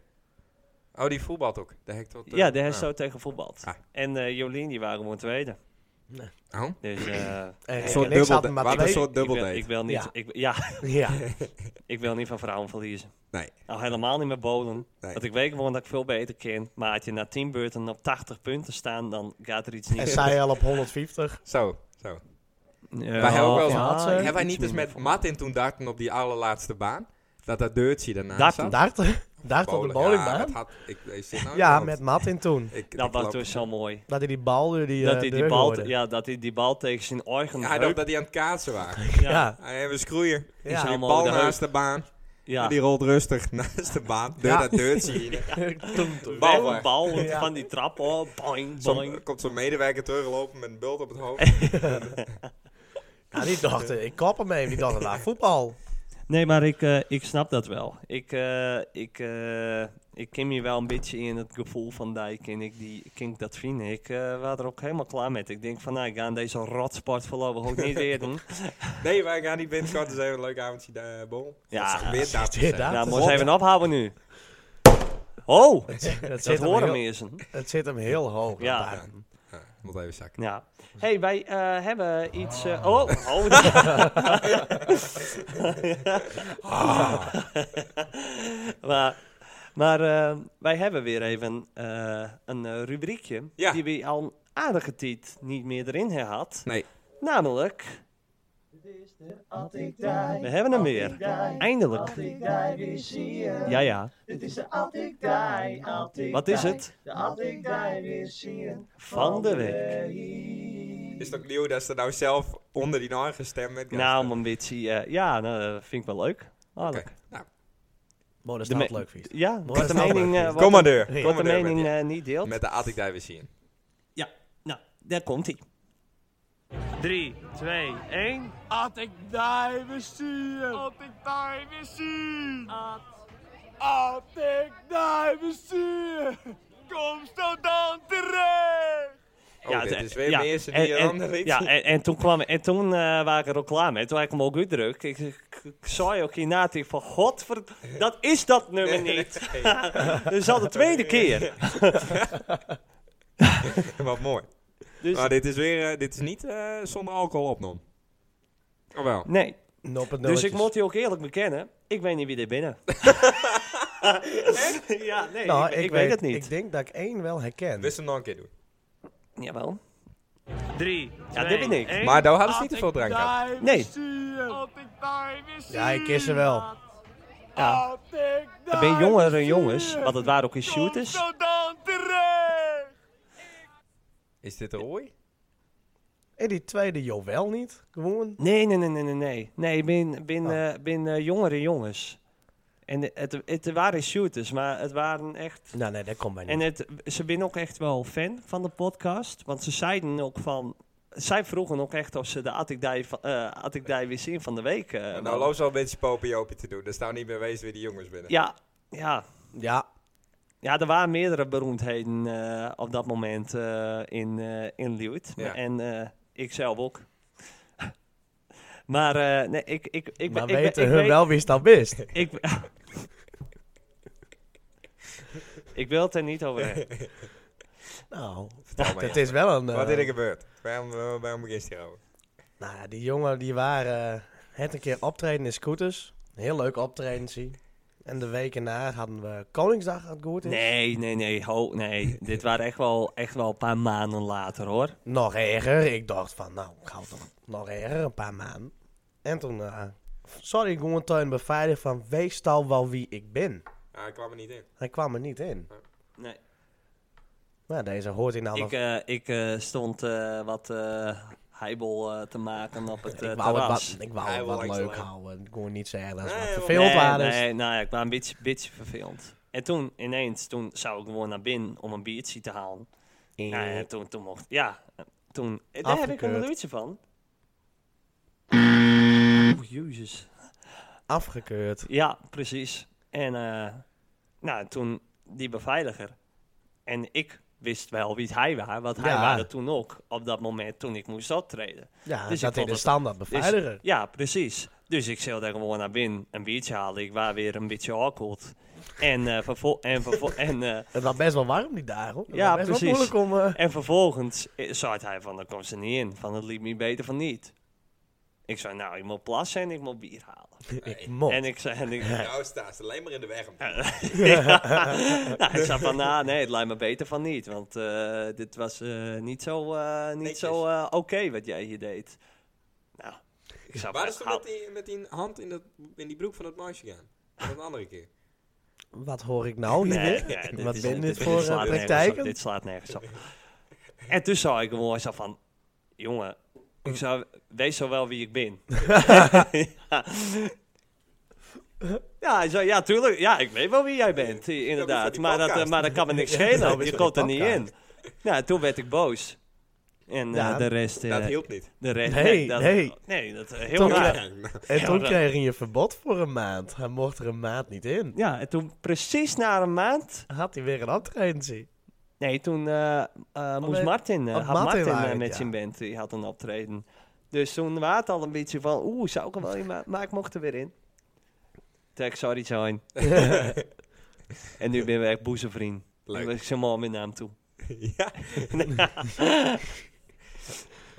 Speaker 2: Oh, die voetbalt ook. De hek tot, eh,
Speaker 1: Ja, de heeft
Speaker 2: ah.
Speaker 1: zo tegen voetbald.
Speaker 2: Ah.
Speaker 1: En eh, Jolien, die waren gewoon tweede.
Speaker 2: Oh.
Speaker 1: Dus... eh,
Speaker 3: En
Speaker 2: Een
Speaker 1: ik-
Speaker 2: soort
Speaker 3: Rick en ik
Speaker 2: dubbel,
Speaker 3: zaten
Speaker 2: de-
Speaker 3: maar
Speaker 2: wat een
Speaker 3: twee.
Speaker 2: soort
Speaker 1: ik, wil,
Speaker 2: dubbeldate.
Speaker 1: ik wil niet...
Speaker 3: Ja.
Speaker 1: Ik, ja,
Speaker 3: Ja,
Speaker 1: ik wil niet van vrouwen verliezen.
Speaker 2: Nee.
Speaker 1: Nou, helemaal niet met bolen.
Speaker 2: Nee.
Speaker 1: Want ik weet gewoon dat ik veel beter ken. Maar als je na 10 beurten op 80 punten staan, dan gaat er iets niet.
Speaker 3: en zij al op 150.
Speaker 2: Zo, zo.
Speaker 1: Ja,
Speaker 2: Wij hebben ook wel eens-
Speaker 1: ja,
Speaker 3: Had ze-
Speaker 1: iets
Speaker 2: Hebben wij niet eens
Speaker 1: minder
Speaker 2: met Martin toen darten op die allerlaatste baan? Dat dat deurtje daarnaast
Speaker 1: Darten?
Speaker 2: zat?
Speaker 3: Darten. Darten op de
Speaker 2: Bowlen. Ja,
Speaker 3: bowlingbaan.
Speaker 2: dat had, ik, ik zit nou in
Speaker 3: Ja,
Speaker 2: mijn
Speaker 3: met
Speaker 2: hoofd.
Speaker 3: Martin toen.
Speaker 2: Ik-
Speaker 1: Dat
Speaker 2: ik
Speaker 1: was
Speaker 2: loop-
Speaker 1: dus zo mooi.
Speaker 3: Dat hij die bal door die, eh,
Speaker 1: dat, hij die
Speaker 3: deur
Speaker 1: bal,
Speaker 3: gooide.
Speaker 1: ja, dat hij die bal tegen zijn eigen
Speaker 2: Ja, Hij dacht
Speaker 1: heup...
Speaker 2: dat hij aan het kaatsen waren.
Speaker 1: ja, ja.
Speaker 3: Ja.
Speaker 2: Hij we schroeien.
Speaker 3: Ja.
Speaker 1: is
Speaker 2: Die
Speaker 1: allemaal
Speaker 2: bal
Speaker 1: de
Speaker 2: naast de baan. En die rolt rustig naast de baan. Door
Speaker 3: Ja.
Speaker 2: dat deurtje hier.
Speaker 3: Toen- toen.
Speaker 2: bal
Speaker 1: bal,
Speaker 2: weg.
Speaker 1: bal
Speaker 3: Ja.
Speaker 1: van die trap. Oh, boing,
Speaker 2: Zo'n-
Speaker 1: boing.
Speaker 2: er komt zo'n medewerker teruglopen met een bult op het hoofd.
Speaker 3: Ja, die dacht, eh, ik kop hem mee. Die dacht, nou, voetbal.
Speaker 1: Nee, maar ik, eh, ik snap dat wel. Ik, eh, ik, eh, ik ken je wel een beetje in het gevoel van Dijk en ik die kink dat vinden. Ik eh, was er ook helemaal klaar met. Ik denk van, nou, ik ga aan deze rotsport voorlopig ook niet weer doen.
Speaker 2: nee, wij gaan niet binnenkort eens even een leuk avondje daar bol.
Speaker 1: Ja,
Speaker 2: Dat is weer dat.
Speaker 3: dit daar?
Speaker 1: Nou,
Speaker 3: Dat
Speaker 1: moet
Speaker 3: is-
Speaker 1: je even ophouden nu. Oh,
Speaker 3: Het
Speaker 1: dat
Speaker 3: zit, hem
Speaker 1: horen
Speaker 3: heel,
Speaker 1: mensen.
Speaker 3: het zit hem heel hoog.
Speaker 1: Ja.
Speaker 3: daar.
Speaker 2: Ja, moet even zakken.
Speaker 1: Ja. hey, wij eh, hebben iets... eh, oh, oh. Ah. maar maar eh, wij hebben weer even eh, een eh, rubriekje
Speaker 2: Ja.
Speaker 1: die we al een aardige tijd niet meer erin had.
Speaker 2: Nee.
Speaker 1: Namelijk,
Speaker 4: At ik daar,
Speaker 1: we hebben hem weer.
Speaker 4: daar,
Speaker 1: Eindelijk.
Speaker 4: at ik daar weer zie je.
Speaker 1: Ja, ja.
Speaker 4: Dit is de at ik daar, at ik
Speaker 1: Wat is het?
Speaker 4: De at ik daar weer zie je.
Speaker 1: Van de week.
Speaker 2: Is het ook nieuw dat ze nou zelf onder die naam gestemd met
Speaker 1: Nou, man, beetje, eh, ja, nou, dat vind ik wel leuk. Aardig.
Speaker 2: Nou,
Speaker 3: Mooi, dat is
Speaker 1: De
Speaker 3: nou
Speaker 1: me-
Speaker 3: leuk, vies.
Speaker 1: Ja,
Speaker 3: Mooi,
Speaker 1: wat de
Speaker 3: dat is
Speaker 1: mening,
Speaker 3: wel
Speaker 1: eh,
Speaker 3: leuk.
Speaker 1: wat
Speaker 2: kom maar
Speaker 1: de-
Speaker 2: deur.
Speaker 1: Wat
Speaker 2: Kom
Speaker 1: de
Speaker 2: maar deur met
Speaker 1: mening
Speaker 2: die-
Speaker 1: eh, niet deelt.
Speaker 2: Met de at ik daar weer zien.
Speaker 1: Ja, nou, daar komt hij. 3, 2, 1.
Speaker 5: At ik daar weer zien. At ik daar weer zien. At. ik daar weer zien. Kom zo dan terecht.
Speaker 2: Oh, dit is weer meer mensen die
Speaker 1: en,
Speaker 2: een
Speaker 1: en-
Speaker 2: ander lied.
Speaker 1: Ja, en, en toen kwam en toen eh waren ik er ook klaar mee. Toen had ik hem ook weer druk. Ik, ik, ik zei ook hierna tegen van godver, dat is dat nummer niet. Dat is al de tweede keer.
Speaker 2: Wat mooi.
Speaker 1: Dus
Speaker 2: Maar dit is weer, eh, dit is niet eh, zonder alcohol opnomen. Oh wel.
Speaker 1: nee,
Speaker 3: Nop het
Speaker 1: dus ik
Speaker 3: nulletjes.
Speaker 1: moet je ook eerlijk bekennen. Ik weet niet wie er binnen. ja, nee,
Speaker 3: Nou,
Speaker 1: ik, ik weet het niet.
Speaker 3: Ik denk dat ik één wel herken.
Speaker 2: Wist hem nog een keer doen.
Speaker 1: Jawel.
Speaker 5: 3.
Speaker 1: Ja, dit ben ik.
Speaker 2: Maar daar hadden ze niet te veel drank aan.
Speaker 5: aan.
Speaker 1: Nee.
Speaker 5: At ik daar weer zien.
Speaker 3: Ja, ik ken ze wel.
Speaker 1: Ja.
Speaker 5: At ik
Speaker 1: Er
Speaker 5: daar
Speaker 1: ben jongere
Speaker 5: weer
Speaker 1: jongens,
Speaker 5: zien.
Speaker 1: want het waren ook in
Speaker 5: Kom
Speaker 1: shooters.
Speaker 5: zo dan terecht.
Speaker 2: Is dit een rooi?
Speaker 3: En die tweede Jovel niet? Gewoon.
Speaker 1: Nee, nee, nee, nee, nee, nee. Nee, bin, bin,
Speaker 2: Oh.
Speaker 1: eh, bin eh, jongere jongens. En het, het waren shooters, maar het waren echt...
Speaker 3: Nou nee, dat komt mij niet.
Speaker 1: En het, ze zijn ook echt wel fan van de podcast. Want ze zeiden ook van... Zij vroegen ook echt of ze de Attikdij uh, weer zien van de week. eh,
Speaker 2: Nou,
Speaker 1: wouden.
Speaker 2: nou loopt ze al een beetje popiopie te doen. Er staan niet meer wees weer die jongens binnen.
Speaker 1: ja, ja.
Speaker 3: Ja,
Speaker 1: Ja, er waren meerdere beroemdheden eh, op dat moment eh, in, eh in Leeuwarden.
Speaker 2: Ja.
Speaker 1: En eh ik zelf ook. maar eh, nee, ik, ik, ik,
Speaker 3: maar
Speaker 1: ik, ik,
Speaker 3: weten
Speaker 1: ik
Speaker 3: hun
Speaker 1: weet-
Speaker 3: wel wie is dan best?
Speaker 1: Ik, ik wil het er niet over hebben.
Speaker 3: Nou,
Speaker 2: Vertel maar,
Speaker 3: het
Speaker 2: ja.
Speaker 3: is wel een... eh,
Speaker 2: eh, Wat is er gebeurd? Waarom, waarom waarom begint hij over?
Speaker 3: Nou, die jongen die waren eh, Het een keer optreden in scooters. Heel leuk optreden, zie. En de weken na hadden we Koningsdag aan het goed is.
Speaker 1: Nee, nee, nee. Ho, nee. Dit waren echt wel, echt wel een paar maanden later hoor.
Speaker 3: Nog erger. Ik dacht van, nou, ik ga toch nog erger, een paar maanden. En toen, eh, sorry, ik moet tuin beveiligd van, wees al wel wie ik ben.
Speaker 2: Ja, ik kwam er niet in.
Speaker 3: Hij kwam er niet in.
Speaker 1: Nee.
Speaker 3: Nou, deze hoort in alle...
Speaker 1: Ik, eh, ik eh, stond eh, wat eh heibel eh, te maken op het eh,
Speaker 3: ik wou het
Speaker 1: terras.
Speaker 3: wat, ik wou
Speaker 2: Hij
Speaker 3: het
Speaker 2: wil
Speaker 3: wat
Speaker 2: niks
Speaker 3: leuk
Speaker 2: alleen.
Speaker 3: houden. Ik kon niet zeggen dat ze
Speaker 2: Nee,
Speaker 3: wat
Speaker 2: joh.
Speaker 3: verveeld waren.
Speaker 1: nee, nee, nou ja, ik was een beetje, beetje verveeld. En toen ineens, toen zou ik gewoon naar binnen om een biertje te halen. Nou Ja, en toen, toen mocht, ja, toen, eh, daar heb ik een
Speaker 3: Afgekeurd.
Speaker 1: ruitje van. Oeh, jezus.
Speaker 3: Afgekeurd.
Speaker 1: Ja, precies. En eh, nou, toen die beveiliger. En ik wist wel wie hij was, want hij
Speaker 3: Ja.
Speaker 1: was toen ook op dat moment toen ik moest optreden.
Speaker 3: Ja,
Speaker 1: Dus
Speaker 3: dus
Speaker 1: ik
Speaker 3: dat in
Speaker 1: vond
Speaker 3: de
Speaker 1: het-
Speaker 3: standaard
Speaker 1: Dus-
Speaker 3: beveiliger.
Speaker 1: ja, precies. Dus ik zou daar gewoon naar binnen een biertje halen. Ik was weer een beetje awkward. En, eh, vervol- en, vervol- en, eh,
Speaker 3: Het was best wel warm die dagen. hoor. Het
Speaker 1: Ja,
Speaker 3: was best
Speaker 1: precies.
Speaker 3: wel moeilijk om... eh,
Speaker 1: en vervolgens eh, zei hij van, dan komt ze niet in. Van, het liep me beter van niet. Ik zei, nou, ik moet plassen en ik moet bier halen.
Speaker 3: ik mot.
Speaker 1: En ik zei, en ik,
Speaker 2: Nou, staat ze alleen maar in de weg.
Speaker 1: nou, ik zei van, nou nee, het lijkt me beter van niet. Want eh, dit was eh, niet zo, eh, niet
Speaker 2: Netjes.
Speaker 1: zo eh, oké wat jij hier deed. Nou, ik zou
Speaker 2: Waar is
Speaker 1: best
Speaker 2: toen met die, met die hand in, dat, in die broek van dat meisje gaan? Dat een andere keer.
Speaker 3: Wat hoor ik nou hier?
Speaker 1: Nee,
Speaker 3: weer?
Speaker 1: nee, dit
Speaker 3: Wat
Speaker 1: is-
Speaker 3: ben dit
Speaker 1: dit
Speaker 3: voor
Speaker 1: slaat
Speaker 3: eh,
Speaker 1: nergens op,
Speaker 3: praktijken?
Speaker 1: Dit slaat nergens op. En toen zou ik gewoon zo van... Jongen, ik zou, wees zo wel wie ik ben. ja. Ja, hij zei, ja, tuurlijk. Ja, ik weet wel wie jij bent, i- inderdaad.
Speaker 2: die
Speaker 1: maar, dat, eh,
Speaker 2: podcast.
Speaker 1: maar dat kan me niks
Speaker 3: dat
Speaker 1: schelen.
Speaker 3: is voor
Speaker 1: Je
Speaker 3: die
Speaker 1: komt er niet in.
Speaker 3: podcast.
Speaker 1: Nou, toen werd ik boos. En eh,
Speaker 3: Ja,
Speaker 1: de rest... eh,
Speaker 2: Dat hielp niet.
Speaker 1: de rest
Speaker 3: Nee,
Speaker 1: dat,
Speaker 3: nee.
Speaker 1: Nee, dat eh, heel
Speaker 3: Toen-
Speaker 1: raar.
Speaker 2: Ja, nou,
Speaker 3: En toen
Speaker 1: dat-
Speaker 3: kreeg hij een verbod voor een maand. Hij mocht er een maand niet in.
Speaker 1: Ja, en toen precies na een maand...
Speaker 3: Had hij weer een optredentie.
Speaker 1: Nee, toen eh, eh, moest
Speaker 3: Oh, nee,
Speaker 1: Martin, eh,
Speaker 3: had
Speaker 1: had
Speaker 3: Martin
Speaker 1: Martin, eh,
Speaker 3: waren het,
Speaker 1: met
Speaker 3: ja.
Speaker 1: zijn band, die had een optreden. Dus toen was het al een beetje van, oeh, zou ik er wel in, maar, maar ik mocht er weer in. Tech, sorry zijn. en nu ben ik echt boezemvriend.
Speaker 2: Leuk.
Speaker 1: Ik zeg maar mijn naam toe.
Speaker 2: ja.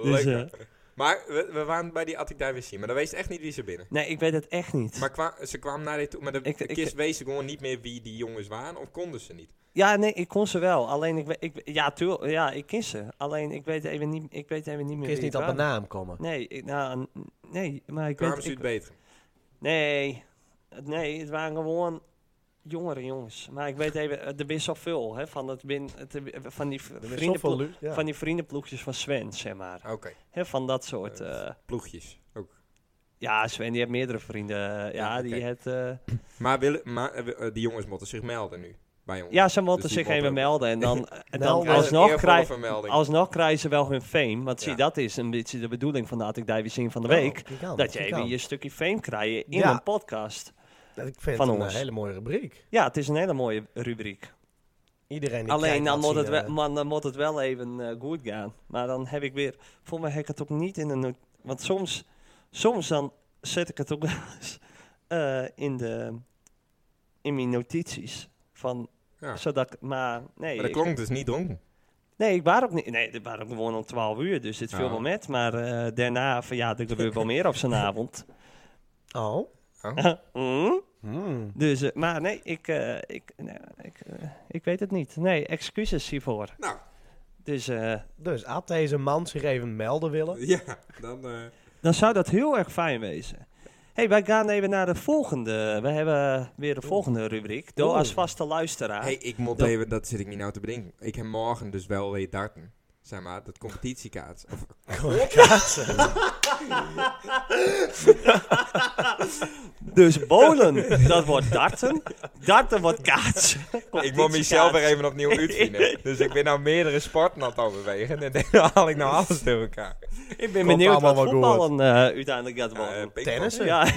Speaker 2: Leuk.
Speaker 1: eh,
Speaker 2: hoor. maar we, we waren bij die Attic Diversity, maar dan wees echt niet wie ze binnen.
Speaker 1: Nee, ik weet het echt niet.
Speaker 2: Maar kwa- ze kwamen naar dit toe, maar de,
Speaker 1: Ik-
Speaker 2: de
Speaker 1: ik-
Speaker 2: kids weten gewoon niet meer wie die jongens waren, of konden ze niet.
Speaker 1: Ja, nee, ik kon ze wel. Alleen ik, we- ik ja, tuur, ja, ik ken ze. Alleen ik weet even niet, ik weet even niet meer.
Speaker 3: Ik is
Speaker 1: wie
Speaker 3: niet
Speaker 1: het
Speaker 3: op een
Speaker 1: waren.
Speaker 3: naam komen.
Speaker 1: Nee, ik, nou, n- nee, maar ik
Speaker 2: Kwamen
Speaker 1: weet.
Speaker 2: ze
Speaker 1: Ik,
Speaker 2: uit beter?
Speaker 1: Nee, Het- nee, het waren gewoon jongere jongens. Maar ik weet even, eh, er is zoveel hè, van, het bin, het, eh, van, die v-
Speaker 3: Er is zoveel
Speaker 1: vriendenplo-
Speaker 3: lu- ja.
Speaker 1: van die vriendenploegjes van Sven, zeg maar.
Speaker 2: Oké,
Speaker 1: Hè, van dat soort.
Speaker 2: Eh,
Speaker 1: eh,
Speaker 2: ploegjes ook.
Speaker 1: ja, Sven die heeft meerdere vrienden. eh, ja,
Speaker 2: Ja,
Speaker 1: die
Speaker 2: oké.
Speaker 1: het, eh,
Speaker 2: Maar, willen, maar eh, eh, die jongens moeten zich melden nu, bij ons.
Speaker 1: ja, ze moeten
Speaker 2: Dus die
Speaker 1: zich even
Speaker 2: motten-
Speaker 1: melden. En dan, eh, en dan
Speaker 3: Melden.
Speaker 1: alsnog,
Speaker 2: Eervolle
Speaker 1: krijg,
Speaker 2: vermelding.
Speaker 1: alsnog krijgen ze wel hun fame. Want zie,
Speaker 2: Ja.
Speaker 1: dat is een beetje de bedoeling van de Attic Divey Zing van de Week.
Speaker 3: Oh, die kan,
Speaker 1: dat je
Speaker 3: die
Speaker 1: even
Speaker 3: kan.
Speaker 1: je stukje fame krijgt in
Speaker 3: Ja.
Speaker 1: een podcast.
Speaker 3: Ik vind
Speaker 1: van
Speaker 3: het een
Speaker 1: ons.
Speaker 3: hele mooie rubriek.
Speaker 1: Ja, het is een hele mooie rubriek.
Speaker 3: Iedereen die
Speaker 1: Alleen
Speaker 3: kijkt
Speaker 1: dan
Speaker 3: laat
Speaker 1: moet,
Speaker 3: zien,
Speaker 1: het wel,
Speaker 3: eh,
Speaker 1: maar dan moet het wel even eh, goed gaan. Maar dan heb ik weer... Voor mij heb ik het ook niet in de... no- Want soms, soms dan zet ik het ook wel eens eh, in, de, in mijn notities. Van,
Speaker 2: Ja.
Speaker 1: zodat ik, maar nee,
Speaker 2: Maar dat
Speaker 1: ik,
Speaker 2: klonk dus niet dronken.
Speaker 1: nee, ik was ook niet... Nee, ik was ook gewoon om 12 uur, dus dit viel
Speaker 2: Ah.
Speaker 1: wel met. Maar eh, daarna, van, ja, er gebeurt wel meer op zijn avond.
Speaker 3: Oh.
Speaker 1: Mm.
Speaker 3: Hmm.
Speaker 1: Dus, eh, maar nee, ik, eh, ik, nou, ik, eh, ik weet het niet. Nee, excuses hiervoor.
Speaker 2: Nou,
Speaker 1: Dus... eh,
Speaker 3: Dus had deze man zich even melden willen?
Speaker 2: ja, dan... eh,
Speaker 1: dan zou dat heel erg fijn wezen. hey, wij gaan even naar de volgende. We hebben weer de volgende rubriek. Door
Speaker 3: Oeh.
Speaker 1: als vaste luisteraar.
Speaker 2: Hey, ik moet
Speaker 1: Dat-
Speaker 2: even, dat zit ik niet nou te bedenken. Ik heb morgen dus wel weer darten. Zeg maar, dat competitiekaart. Of,
Speaker 1: Dus bolen, dat wordt darten. Darten wordt kaats.
Speaker 2: ik moet mezelf weer even opnieuw uitvinden. dus ik ben nou meerdere sporten aan het overwegen. En dan haal ik nou alles door elkaar.
Speaker 1: Ik ben
Speaker 3: Komt
Speaker 1: benieuwd
Speaker 3: allemaal
Speaker 1: wat
Speaker 3: wel goed.
Speaker 1: voetballen eh, uiteindelijk gaat
Speaker 2: Eh,
Speaker 1: worden.
Speaker 2: pingpong.
Speaker 3: Tennissen?
Speaker 1: ja,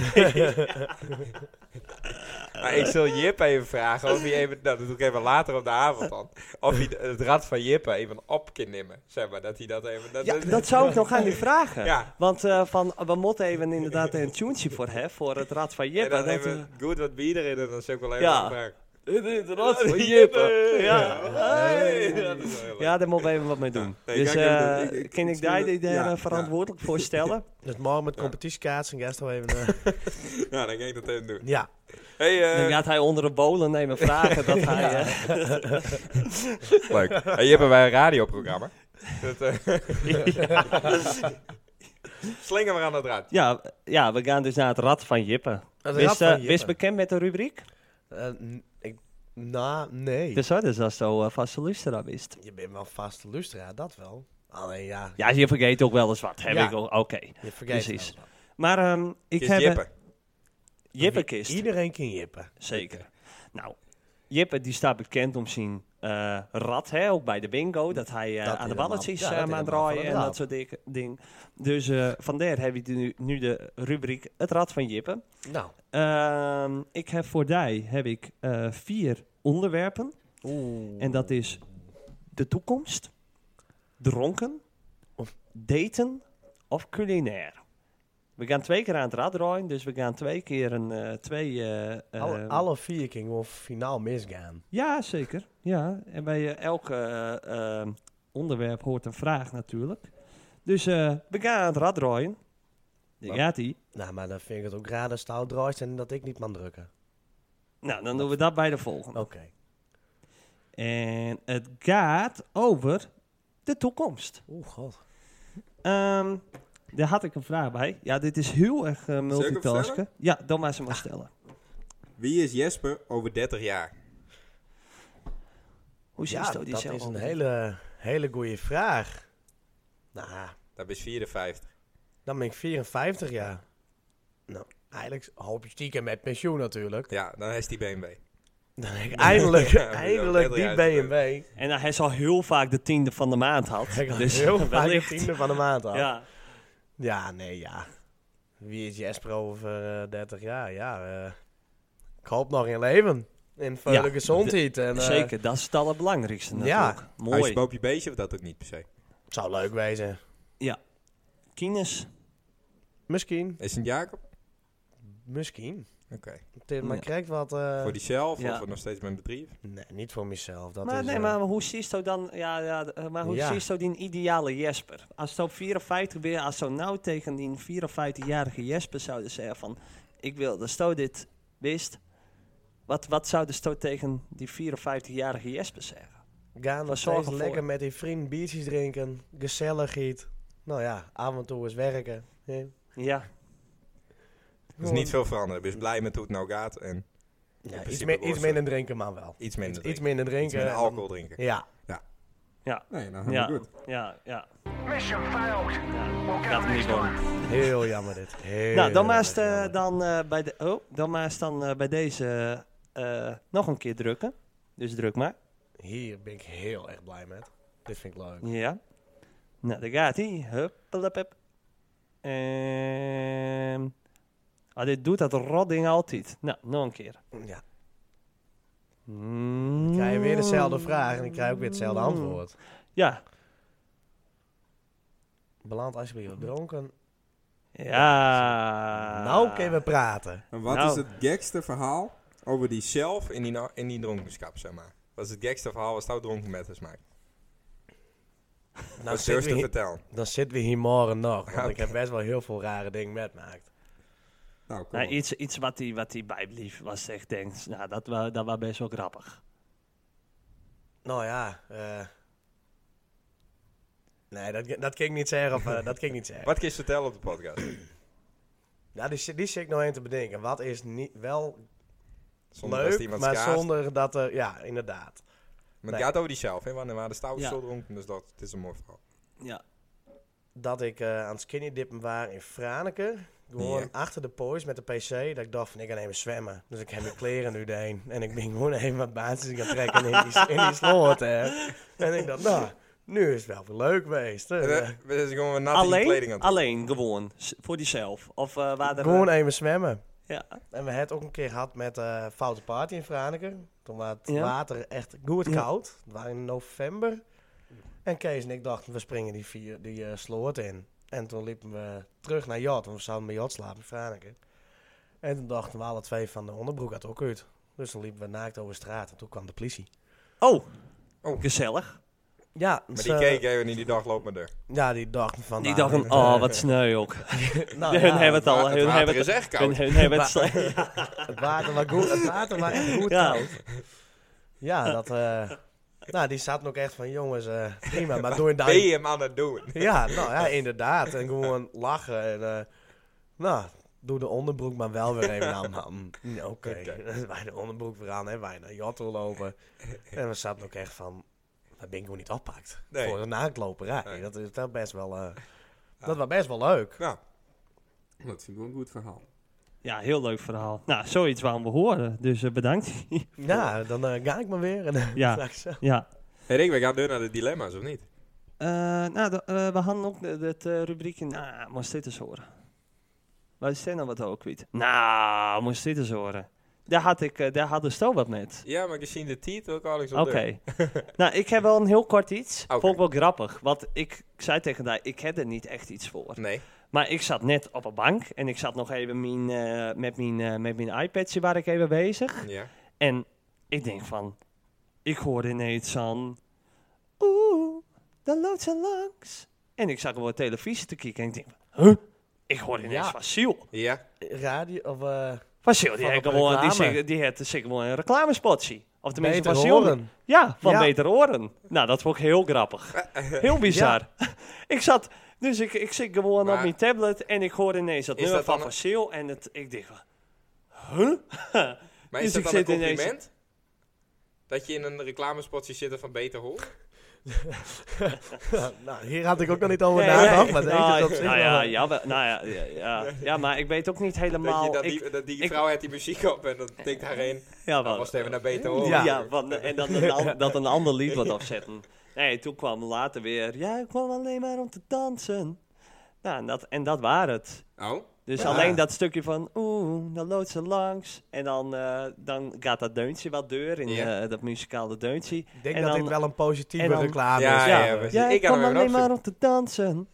Speaker 2: Maar ik zal Jip even vragen of hij even, nou, dat doe ik even later op de avond dan, of hij de- het rad van Jip even op kan nemen. Zeg maar, dat hij dat even... Dat,
Speaker 1: ja, dat zou ik nog aan u vragen.
Speaker 2: Ja.
Speaker 1: Want eh, van, we moeten even inderdaad een tuntje voor hebben, voor het Rad van
Speaker 2: en
Speaker 1: Jip.
Speaker 2: dan
Speaker 1: En dat,
Speaker 2: even,
Speaker 1: eh,
Speaker 2: goed wat bier erin, en dan zou ik wel even
Speaker 1: Ja.
Speaker 2: vragen.
Speaker 1: Dit is de rat van Jippe. Ja.
Speaker 2: Hey.
Speaker 1: Ja, daar moeten we even wat mee doen.
Speaker 2: Nee,
Speaker 1: dus
Speaker 2: kijk, ik-
Speaker 1: eh,
Speaker 2: ik- ik-
Speaker 1: kan ik
Speaker 2: misschien
Speaker 1: daar
Speaker 2: dat-
Speaker 1: daar,
Speaker 2: ja,
Speaker 1: eh, verantwoordelijk voor stellen?
Speaker 3: Dus morgen met competitiekaarts en gast wel even... eh,
Speaker 2: Ja, dan ga ik dat even doen.
Speaker 3: ja,
Speaker 2: Hey, eh,
Speaker 1: Dan gaat hij onder de bolen nemen vragen dat hij... eh,
Speaker 2: Leuk. Hey, je hebt bij een radioprogramma. Dat, eh, Slinger maar aan dat draad.
Speaker 1: ja, ja, we gaan dus naar het rad van Jippe.
Speaker 3: dat
Speaker 1: Wist eh, wist bekend met de rubriek?
Speaker 3: Eh, ik, nou, nee.
Speaker 1: Dus, hoor, dus dat is zo eh vaste luisteraar wist.
Speaker 3: Je bent wel vaste luisteraar, dat wel. Alleen ja,
Speaker 1: Ja, je vergeet ook wel eens wat. Heb
Speaker 3: Ja.
Speaker 1: ik al. Oké.
Speaker 3: je vergeet
Speaker 1: Precies.
Speaker 3: wel wat.
Speaker 1: Maar ehm, ik
Speaker 2: Kies
Speaker 1: heb...
Speaker 2: Jippe.
Speaker 1: Jippekist.
Speaker 3: Iedereen kan jippen.
Speaker 1: Zeker. Nou, Jippe die staat bekend om zijn eh rat, hè, ook bij de bingo. Dat hij eh,
Speaker 3: Dat
Speaker 1: aan de
Speaker 3: helemaal-
Speaker 1: balletjes
Speaker 3: ja,
Speaker 1: eh,
Speaker 3: dat
Speaker 1: maar aan het
Speaker 3: helemaal
Speaker 1: draaien
Speaker 3: van
Speaker 1: en
Speaker 3: het
Speaker 1: dat
Speaker 3: rad.
Speaker 1: soort dikke ding. Dus eh vandaar heb je nu, nu de rubriek Het Rad van Jippe.
Speaker 3: Nou,
Speaker 1: Ehm, ik heb voor die heb ik eh, vier onderwerpen. En dat is de toekomst, dronken, of daten of culinair. We gaan twee keer aan het rad draaien, dus we gaan twee keer een eh, twee. eh,
Speaker 3: alle,
Speaker 1: ehm,
Speaker 3: alle vier kunnen gewoon finaal misgaan.
Speaker 1: Ja, zeker. Ja. En bij eh, elk eh, eh, onderwerp hoort een vraag natuurlijk. Dus eh, we gaan aan het rad draaien. Daar
Speaker 2: Wat?
Speaker 1: gaat ie.
Speaker 3: Nou, maar dan vind ik het ook raar dat stout draait en dat ik niet mag drukken.
Speaker 1: Nou, dan doen we dat bij de volgende.
Speaker 3: Oké.
Speaker 1: En het gaat over de toekomst.
Speaker 3: Oeh, god.
Speaker 1: Ehm, daar had ik een vraag bij. Ja, dit is heel erg eh,
Speaker 2: hem
Speaker 1: multitasken.
Speaker 2: stellen?
Speaker 1: Ja, dan maar
Speaker 3: Ah.
Speaker 1: ze maar stellen.
Speaker 2: Wie is Jesper over 30 jaar?
Speaker 1: Hoe zit
Speaker 3: Ja,
Speaker 1: het?
Speaker 3: dat is een hele, hele goede vraag. Nou,
Speaker 2: Dat is 54.
Speaker 3: dan ben ik 54 jaar. Nou, eigenlijk hoop je stiekem met pensioen natuurlijk.
Speaker 2: Ja, dan is die BMW.
Speaker 3: Dan heb ik eindelijk,
Speaker 2: Ja,
Speaker 3: eindelijk die
Speaker 2: dat is wel
Speaker 3: BMW.
Speaker 1: En hij is al heel vaak de tiende van de maand had.
Speaker 3: Ik had
Speaker 1: Dus
Speaker 3: heel vaak de
Speaker 1: wellicht.
Speaker 3: tiende van de maand al.
Speaker 1: Ja.
Speaker 3: Ja, nee, ja. Wie is Jesper over eh, 30 jaar? Ja, eh, ik hoop nog in leven. In veilige
Speaker 1: Ja,
Speaker 3: gezondheid. En, eh,
Speaker 1: Zeker, dat is het allerbelangrijkste
Speaker 3: ja.
Speaker 1: natuurlijk.
Speaker 2: Als je
Speaker 1: Mooi.
Speaker 2: boop je beestje of dat ook niet per se.
Speaker 3: Het zou leuk wezen.
Speaker 1: Kines.
Speaker 3: Misschien.
Speaker 2: Is het Jacob?
Speaker 3: Misschien.
Speaker 2: Oké.
Speaker 3: Het is- Maar
Speaker 1: Ja.
Speaker 3: krijgt wat... eh,
Speaker 2: Voor diezelf
Speaker 1: ja.
Speaker 2: of voor nog steeds mijn bedrijf?
Speaker 3: Nee, niet voor mezelf. Dat
Speaker 1: Maar,
Speaker 3: is,
Speaker 1: nee,
Speaker 3: eh,
Speaker 1: maar hoe zie je dan, ja, ja, eh, maar hoe
Speaker 3: Ja.
Speaker 1: zie je die ideale Jesper? Als je op 54 weer, als je nou tegen die 54-jarige Jesper zouden zeggen van, ik wil dat je dit wist, wat, wat zou de stoot tegen die 54-jarige Jesper zeggen?
Speaker 3: Gaan
Speaker 1: Wat
Speaker 3: nog
Speaker 1: zorgen
Speaker 3: steeds
Speaker 1: voor?
Speaker 3: lekker met die vrienden biertjes drinken. Gezelligheid. Nou ja, af en toe eens werken. hè.
Speaker 1: Ja,
Speaker 2: Er is niet veel veranderd. Dus blij met hoe het nou gaat en
Speaker 3: Ja, iets,
Speaker 2: principe
Speaker 3: meer- iets
Speaker 2: worstelen.
Speaker 3: minder drinken, maar wel.
Speaker 2: iets minder
Speaker 3: Iets
Speaker 2: drinken.
Speaker 3: minder
Speaker 2: Iets
Speaker 3: drinken.
Speaker 2: minder alcohol drinken.
Speaker 3: Ja.
Speaker 1: ja,
Speaker 2: Nee, nou
Speaker 1: ja,
Speaker 2: helemaal goed.
Speaker 1: ja, ja.
Speaker 5: Mission failed.
Speaker 1: ja.
Speaker 5: We'll
Speaker 1: Gaat
Speaker 5: count
Speaker 1: hem
Speaker 5: next
Speaker 1: niet worden.
Speaker 5: time.
Speaker 3: Heel jammer dit. Heel
Speaker 1: Nou, dan maar
Speaker 3: jammer,
Speaker 1: is het, eh,
Speaker 3: jammer.
Speaker 1: dan, eh, bij de, oh, dan maar is dan eh, bij deze eh, nog een keer drukken. Dus druk maar.
Speaker 3: Hier ben ik heel erg blij met. Dit vind ik leuk.
Speaker 1: Ja. Nou, daar gaat hij. Huppelepup. Ehm. Ah, dit doet dat rodding altijd. Nou, nog een keer.
Speaker 3: Ja.
Speaker 1: Mm.
Speaker 3: Dan krijg je weer dezelfde vraag en dan krijg je ook weer hetzelfde antwoord.
Speaker 1: Ja.
Speaker 3: Beland alsjeblieft op dronken.
Speaker 1: Ja.
Speaker 3: nou kunnen we praten.
Speaker 2: En wat
Speaker 1: Nou.
Speaker 2: is het gekste verhaal over die zelf in die, no- in die dronkenschap, zeg maar? Wat is het gekste verhaal wat jou dronken met is, Mike?
Speaker 3: Nou
Speaker 2: Nou, wat durf
Speaker 3: zitten
Speaker 2: je
Speaker 3: we
Speaker 2: te
Speaker 3: hier,
Speaker 2: vertellen?
Speaker 3: dan zitten we hier morgen nog. Want
Speaker 2: Ja,
Speaker 3: ik heb best wel heel veel rare dingen metmaakt.
Speaker 2: Nou, kom
Speaker 1: Nou,
Speaker 2: op.
Speaker 1: iets, iets wat hij wat die bijblief was, echt denkt. Nou, dat, wa, dat was best wel grappig.
Speaker 3: Nou ja, eh, Nee, dat, dat kan ik niet zeggen. Of, eh, dat kan ik niet zeggen.
Speaker 2: Wat kun je vertellen op de podcast?
Speaker 3: Nou, die, zit- die zit ik nog één te bedenken. Wat is niet, wel
Speaker 2: dat
Speaker 3: leuk, maar
Speaker 2: schaadt.
Speaker 3: zonder dat er... Ja, inderdaad.
Speaker 2: Maar het
Speaker 3: Nee.
Speaker 2: gaat over die zelf, hè? Want er waren de stout
Speaker 1: Ja.
Speaker 2: zo dronken, dus dat het is een mooi verhaal.
Speaker 1: Ja.
Speaker 3: dat ik eh, aan het skinny dippen was in Franeke. Gewoon
Speaker 2: Ja.
Speaker 3: achter de poos met de pc. Dat ik dacht van, ik ga even zwemmen. Dus ik heb mijn kleren nu heen. En ik ben gewoon even wat baantjes gaan trekken in die, in die sloot. Hè. En ik dacht, nou, nu is het wel weer leuk geweest. hè.
Speaker 2: En, eh, we zijn gewoon weer nat in die kleding aan
Speaker 1: Alleen,
Speaker 2: het doen.
Speaker 1: alleen gewoon. S- Voor diezelf. Of eh waar er.
Speaker 3: gewoon even zwemmen.
Speaker 1: Ja.
Speaker 3: En we hebben het ook een keer gehad met eh Foute Party in Franeke. Toen was het
Speaker 1: Ja.
Speaker 3: water echt goed
Speaker 1: Ja.
Speaker 3: koud. Het was in november. En Kees en ik dachten, we springen die, vier, die eh, sloot in. En toen liepen we terug naar Jot, want we zouden bij Jot slapen in Franeke. En toen dachten we alle twee van de onderbroek had ook uit. Dus toen liepen we naakt over straat en toen kwam de politie.
Speaker 1: Oh,
Speaker 2: Oh.
Speaker 1: gezellig.
Speaker 3: Ja,
Speaker 2: Maar
Speaker 3: dus,
Speaker 2: die
Speaker 3: eh,
Speaker 2: keek even niet, die dag loopt maar door.
Speaker 3: Ja, die dachten van...
Speaker 1: Die
Speaker 3: nou,
Speaker 1: dacht van, oh, wat sneu ook.
Speaker 3: nou,
Speaker 1: Hun
Speaker 3: ja,
Speaker 1: hebben het al.
Speaker 2: Het
Speaker 1: Hun
Speaker 2: water
Speaker 1: hebben
Speaker 2: is
Speaker 1: het
Speaker 2: echt
Speaker 1: hun-
Speaker 2: koud.
Speaker 1: hun hebben het
Speaker 3: Maar-
Speaker 1: slecht.
Speaker 3: Het water was goed, het water was echt goed
Speaker 1: Ja.
Speaker 3: koud. Ja, dat... eh, nou, die zaten ook echt van, jongens, eh, prima, maar doe je daar...
Speaker 2: Ben je hem aan het doen?
Speaker 3: Ja, nou ja, inderdaad. En gewoon lachen en... eh, nou, doe de onderbroek maar wel weer even aan, man. Mm, Oké. Wij de onderbroek weer aan en wij naar Jotto lopen. En we zaten ook echt van... Dat ben ik gewoon niet oppakt.
Speaker 2: Nee.
Speaker 3: Voor een naaktloperij.
Speaker 2: Nee.
Speaker 3: Dat is dat best wel... eh, Dat was best wel leuk.
Speaker 2: Nou, dat vind ik wel een goed verhaal.
Speaker 1: Ja, heel leuk verhaal. Nou, zoiets waarom we horen. Dus eh, bedankt.
Speaker 3: Ja, dan eh, ga ik maar weer. En, dan
Speaker 1: Ja.
Speaker 3: ga ik zo.
Speaker 1: ja.
Speaker 2: Hey Rick, we gaan door naar de dilemma's, of niet?
Speaker 1: Eh, nou, da- eh, we hadden ook de- dat eh, rubriekje. Nou, moest dit eens horen. Wat is dit nou wat ook kwijt? Nou, moest dit eens horen. Daar had ik, eh, daar had de Sto wat met.
Speaker 2: Ja, maar ik zie de titel ook al eens op
Speaker 1: Oké. nou, ik heb wel een heel kort iets.
Speaker 2: Oké.
Speaker 1: Vond ik wel grappig. Want ik zei tegen haar, ik heb er niet echt iets voor.
Speaker 2: Nee.
Speaker 1: Maar ik zat net op een bank en ik zat nog even mijn, eh, met, mijn, eh, met mijn iPadje waar ik even bezig.
Speaker 2: Ja.
Speaker 1: En ik denk van, ik hoorde ineens van, oeh, daar loopt ze langs. En ik zag gewoon televisie te kijken en ik denk van, huh? Ik hoorde ineens
Speaker 3: Ja.
Speaker 1: van Siel.
Speaker 2: Ja.
Speaker 3: radio of eh
Speaker 1: Van Siel, die
Speaker 3: Van
Speaker 1: had
Speaker 3: op
Speaker 1: gewoon, die,
Speaker 3: reclame.
Speaker 1: zing- die had zeker gewoon een reclamespotje. Of tenminste
Speaker 3: beter
Speaker 1: van Siel.
Speaker 3: horen.
Speaker 1: Ja, van
Speaker 3: Ja.
Speaker 1: Beter Oren. Nou, dat vond ik heel grappig. Heel bizar. ik zat... Dus ik, ik zit gewoon op
Speaker 2: Maar-
Speaker 1: mijn tablet en ik hoor ineens dat
Speaker 2: Is
Speaker 1: nummer
Speaker 2: dat
Speaker 1: van
Speaker 2: dan een-
Speaker 1: Fossil en het, ik denk van... Huh?
Speaker 2: Maar
Speaker 1: Dus
Speaker 2: is dat dan
Speaker 1: ik zit
Speaker 2: een
Speaker 1: ineens-
Speaker 2: compliment? Dat je in een reclamespotje zit van Beter Hoor?
Speaker 3: nou, nou, hier had ik ook nog niet over
Speaker 1: Nee,
Speaker 3: nagedacht,
Speaker 1: nee.
Speaker 3: maar deze
Speaker 1: nou,
Speaker 3: is op zich
Speaker 1: nou
Speaker 3: wel
Speaker 1: ja,
Speaker 3: een-
Speaker 1: ja, wel- nou ja, ja, ja, ja, maar ik weet ook niet helemaal...
Speaker 2: dat, je, dat,
Speaker 1: Nou, ik,
Speaker 2: die, dat die
Speaker 1: ik-
Speaker 2: vrouw heeft die muziek op en dat tikt daarheen.
Speaker 1: ja,
Speaker 2: Dan
Speaker 1: wel.
Speaker 2: was het even naar Beter Hoor.
Speaker 1: ja.
Speaker 3: Ja.
Speaker 1: want, eh, en dan een, an- dat een ander lied wat afzetten. Nee, toen kwam later weer... Ja, ik kwam alleen maar om te dansen. Nou, en dat, en dat waren het.
Speaker 2: Oh?
Speaker 1: Dus
Speaker 3: Ja.
Speaker 1: alleen dat stukje van, oeh, dan loopt ze langs. En dan, eh, dan gaat dat deuntje wat deur in
Speaker 2: Ja.
Speaker 1: eh, dat muzikale deuntje.
Speaker 3: Ik denk
Speaker 1: en
Speaker 3: dat
Speaker 1: dan,
Speaker 3: dit wel een positieve
Speaker 1: en dan-
Speaker 3: reclame
Speaker 2: Ja,
Speaker 3: is.
Speaker 2: ja,
Speaker 3: eh,
Speaker 2: precies.
Speaker 1: Ja,
Speaker 2: Ik
Speaker 1: ik
Speaker 2: ga hem
Speaker 1: kwam
Speaker 2: even
Speaker 1: alleen maar
Speaker 2: opzoeken.
Speaker 1: om te dansen.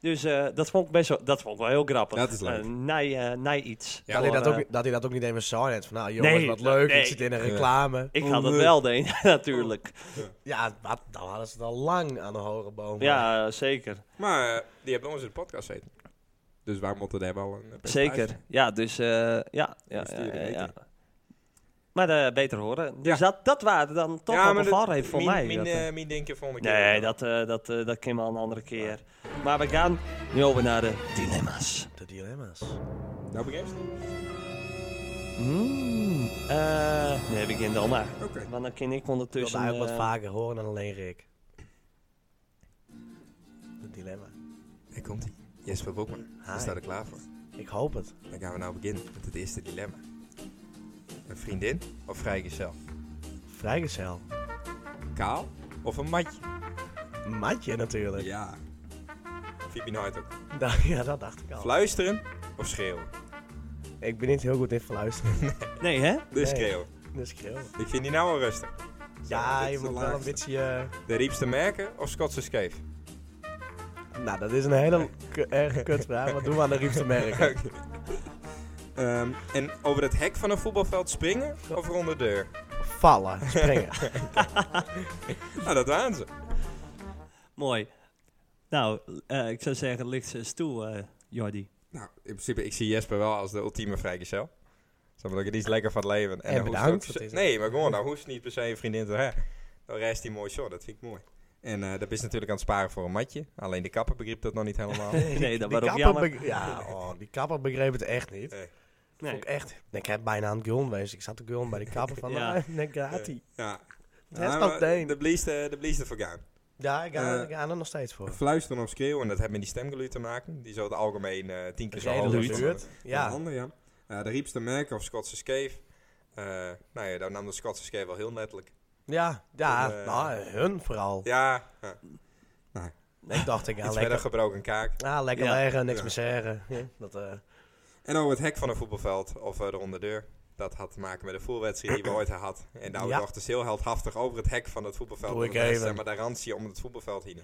Speaker 1: Dus eh, dat vond ik best wel, dat vond ik wel heel grappig.
Speaker 2: Dat is leuk.
Speaker 1: Eh, nij, eh, nij iets.
Speaker 2: Ja,
Speaker 3: dat,
Speaker 1: Voor,
Speaker 3: hij dat,
Speaker 1: eh,
Speaker 3: ook, dat hij dat ook niet even zo net van, nou jongens,
Speaker 1: Nee,
Speaker 3: wat leuk,
Speaker 1: nee.
Speaker 3: ik zit in een reclame.
Speaker 1: eh, ik had het wel deen, natuurlijk.
Speaker 3: Ja, wat, dan hadden ze het al lang aan de hoge boom.
Speaker 1: Ja, zeker.
Speaker 2: Maar eh, die hebben ons in de podcast zitten. Dus waar moeten we hebben al een eh, presentatie?
Speaker 1: Zeker. Ja, dus eh, ja, ja, ja,
Speaker 2: Besturen
Speaker 1: ja, ja.
Speaker 2: weten.
Speaker 1: Maar eh, beter horen. Dus
Speaker 2: Ja.
Speaker 1: dat, dat waren dan toch
Speaker 2: Ja,
Speaker 1: wel
Speaker 2: maar
Speaker 1: een
Speaker 2: dat-
Speaker 1: valreep voor
Speaker 2: mijn-
Speaker 1: mij.
Speaker 2: Mijn,
Speaker 1: dat, eh.
Speaker 2: eh, mijn denken volgende keer.
Speaker 1: Nee, dat, eh dat, eh dat kan wel een andere keer. Maar we gaan nu over naar de dilemma's.
Speaker 3: De dilemma's.
Speaker 2: Nou begrijp je het?
Speaker 1: Mm. Eh, nee, begin dan maar.
Speaker 2: Oké.
Speaker 1: Want dan kan ik
Speaker 3: Ik wilde
Speaker 1: ondertussen...
Speaker 3: eigenlijk wat
Speaker 1: eh,
Speaker 3: vaker horen dan alleen Rick. Het dilemma.
Speaker 2: Daar komt ie. Jesper Boekman,
Speaker 3: Hi.
Speaker 2: we staan er klaar voor.
Speaker 3: Ik hoop het.
Speaker 2: Dan gaan we nou beginnen met het eerste dilemma. Een vriendin of vrijgezel?
Speaker 3: Vrijgezel.
Speaker 2: Kaal of een matje?
Speaker 3: Matje natuurlijk. Ja.
Speaker 2: Ja. Phoebe Knight ook.
Speaker 3: ja, dat dacht ik al.
Speaker 2: Oh. Fluisteren of schreeuwen?
Speaker 3: ik ben niet heel goed in verluisteren.
Speaker 1: Nee, hè?
Speaker 2: Dus
Speaker 3: Nee.
Speaker 2: schreeuwen.
Speaker 3: dus ik heel...
Speaker 2: Ik vind die nou wel rustig.
Speaker 3: Ja,
Speaker 2: dit
Speaker 3: je
Speaker 2: is de
Speaker 3: moet wel een
Speaker 2: laagste.
Speaker 3: beetje... eh,
Speaker 2: De riepste merken of Schotse scheef?
Speaker 3: Nou, dat is een hele k- erge kutvraag. Wat doen we aan de riepste merken?
Speaker 2: Ehm, en over het hek van een voetbalveld springen of rond de deur?
Speaker 3: Vallen, springen.
Speaker 2: Nou, dat waren ze.
Speaker 1: Mooi. Nou, eh, ik zou zeggen, licht ze eens toe, eh, Jordi.
Speaker 2: Nou, in principe, ik zie Jesper wel als de ultieme vrijgezel. Zo maar dat ik er iets lekker van het leven. eh,
Speaker 3: En
Speaker 2: dan hoeft
Speaker 3: bedankt,
Speaker 2: ook-
Speaker 3: dat is het.
Speaker 2: nee, maar gewoon, nou hoeft niet per se een vriendin te hebben. Dan reist hij mooi zo, dat vind ik mooi. En eh, dat is natuurlijk aan het sparen voor een matje. Alleen de kapper begreep dat nog niet helemaal.
Speaker 1: Nee, dat
Speaker 3: Die
Speaker 1: was ook
Speaker 3: kapper
Speaker 1: jammer.
Speaker 3: be- ja, oh, die kapper begreep het echt niet.
Speaker 2: Nee.
Speaker 1: Nee.
Speaker 3: Ook echt. Ik heb bijna aan het gulden geweest. Ik zat te gulden bij die kapper van...
Speaker 1: Ja.
Speaker 3: ja. Nee, gaat ie.
Speaker 2: ja.
Speaker 3: Het is
Speaker 2: Ja,
Speaker 3: toch
Speaker 2: maar
Speaker 3: deen.
Speaker 2: De blieste, de blieste voor gaan.
Speaker 3: Ja, ik ga,
Speaker 2: Eh,
Speaker 3: ik ga er nog steeds voor.
Speaker 2: Fluisteren of schreeuwen, en dat heeft met die stemgeluid te maken. Die zo het algemeen eh, tien keer zo hoog
Speaker 3: Redelijk
Speaker 2: is dan
Speaker 3: duurt.
Speaker 2: een- dan
Speaker 3: Ja.
Speaker 2: een ander, ja. Eh, de riepste merken of Schotse scheef. Eh, nou ja, daar nam de Schotse scheef wel heel letterlijk.
Speaker 3: Ja, ja
Speaker 2: Eh,
Speaker 3: nou, hun vooral.
Speaker 2: Ja, ja.
Speaker 3: Ik dacht, ik ga
Speaker 2: iets verder
Speaker 3: lekker,
Speaker 2: gebroken kaak.
Speaker 3: ah, lekker
Speaker 1: Ja.
Speaker 3: leggen, niks
Speaker 2: Ja.
Speaker 3: meer zeggen. Ja, dat, eh,
Speaker 2: En over het hek van een voetbalveld of eh, de onderdeur. Dat had te maken met de voelwedstrijd die we ooit had. En nou
Speaker 3: Ja.
Speaker 2: dacht dus heel heldhaftig over het hek van het voetbalveld.
Speaker 3: Doe ik
Speaker 2: Dat was,
Speaker 3: even.
Speaker 2: eh, Maar de rantie om het voetbalveld heen.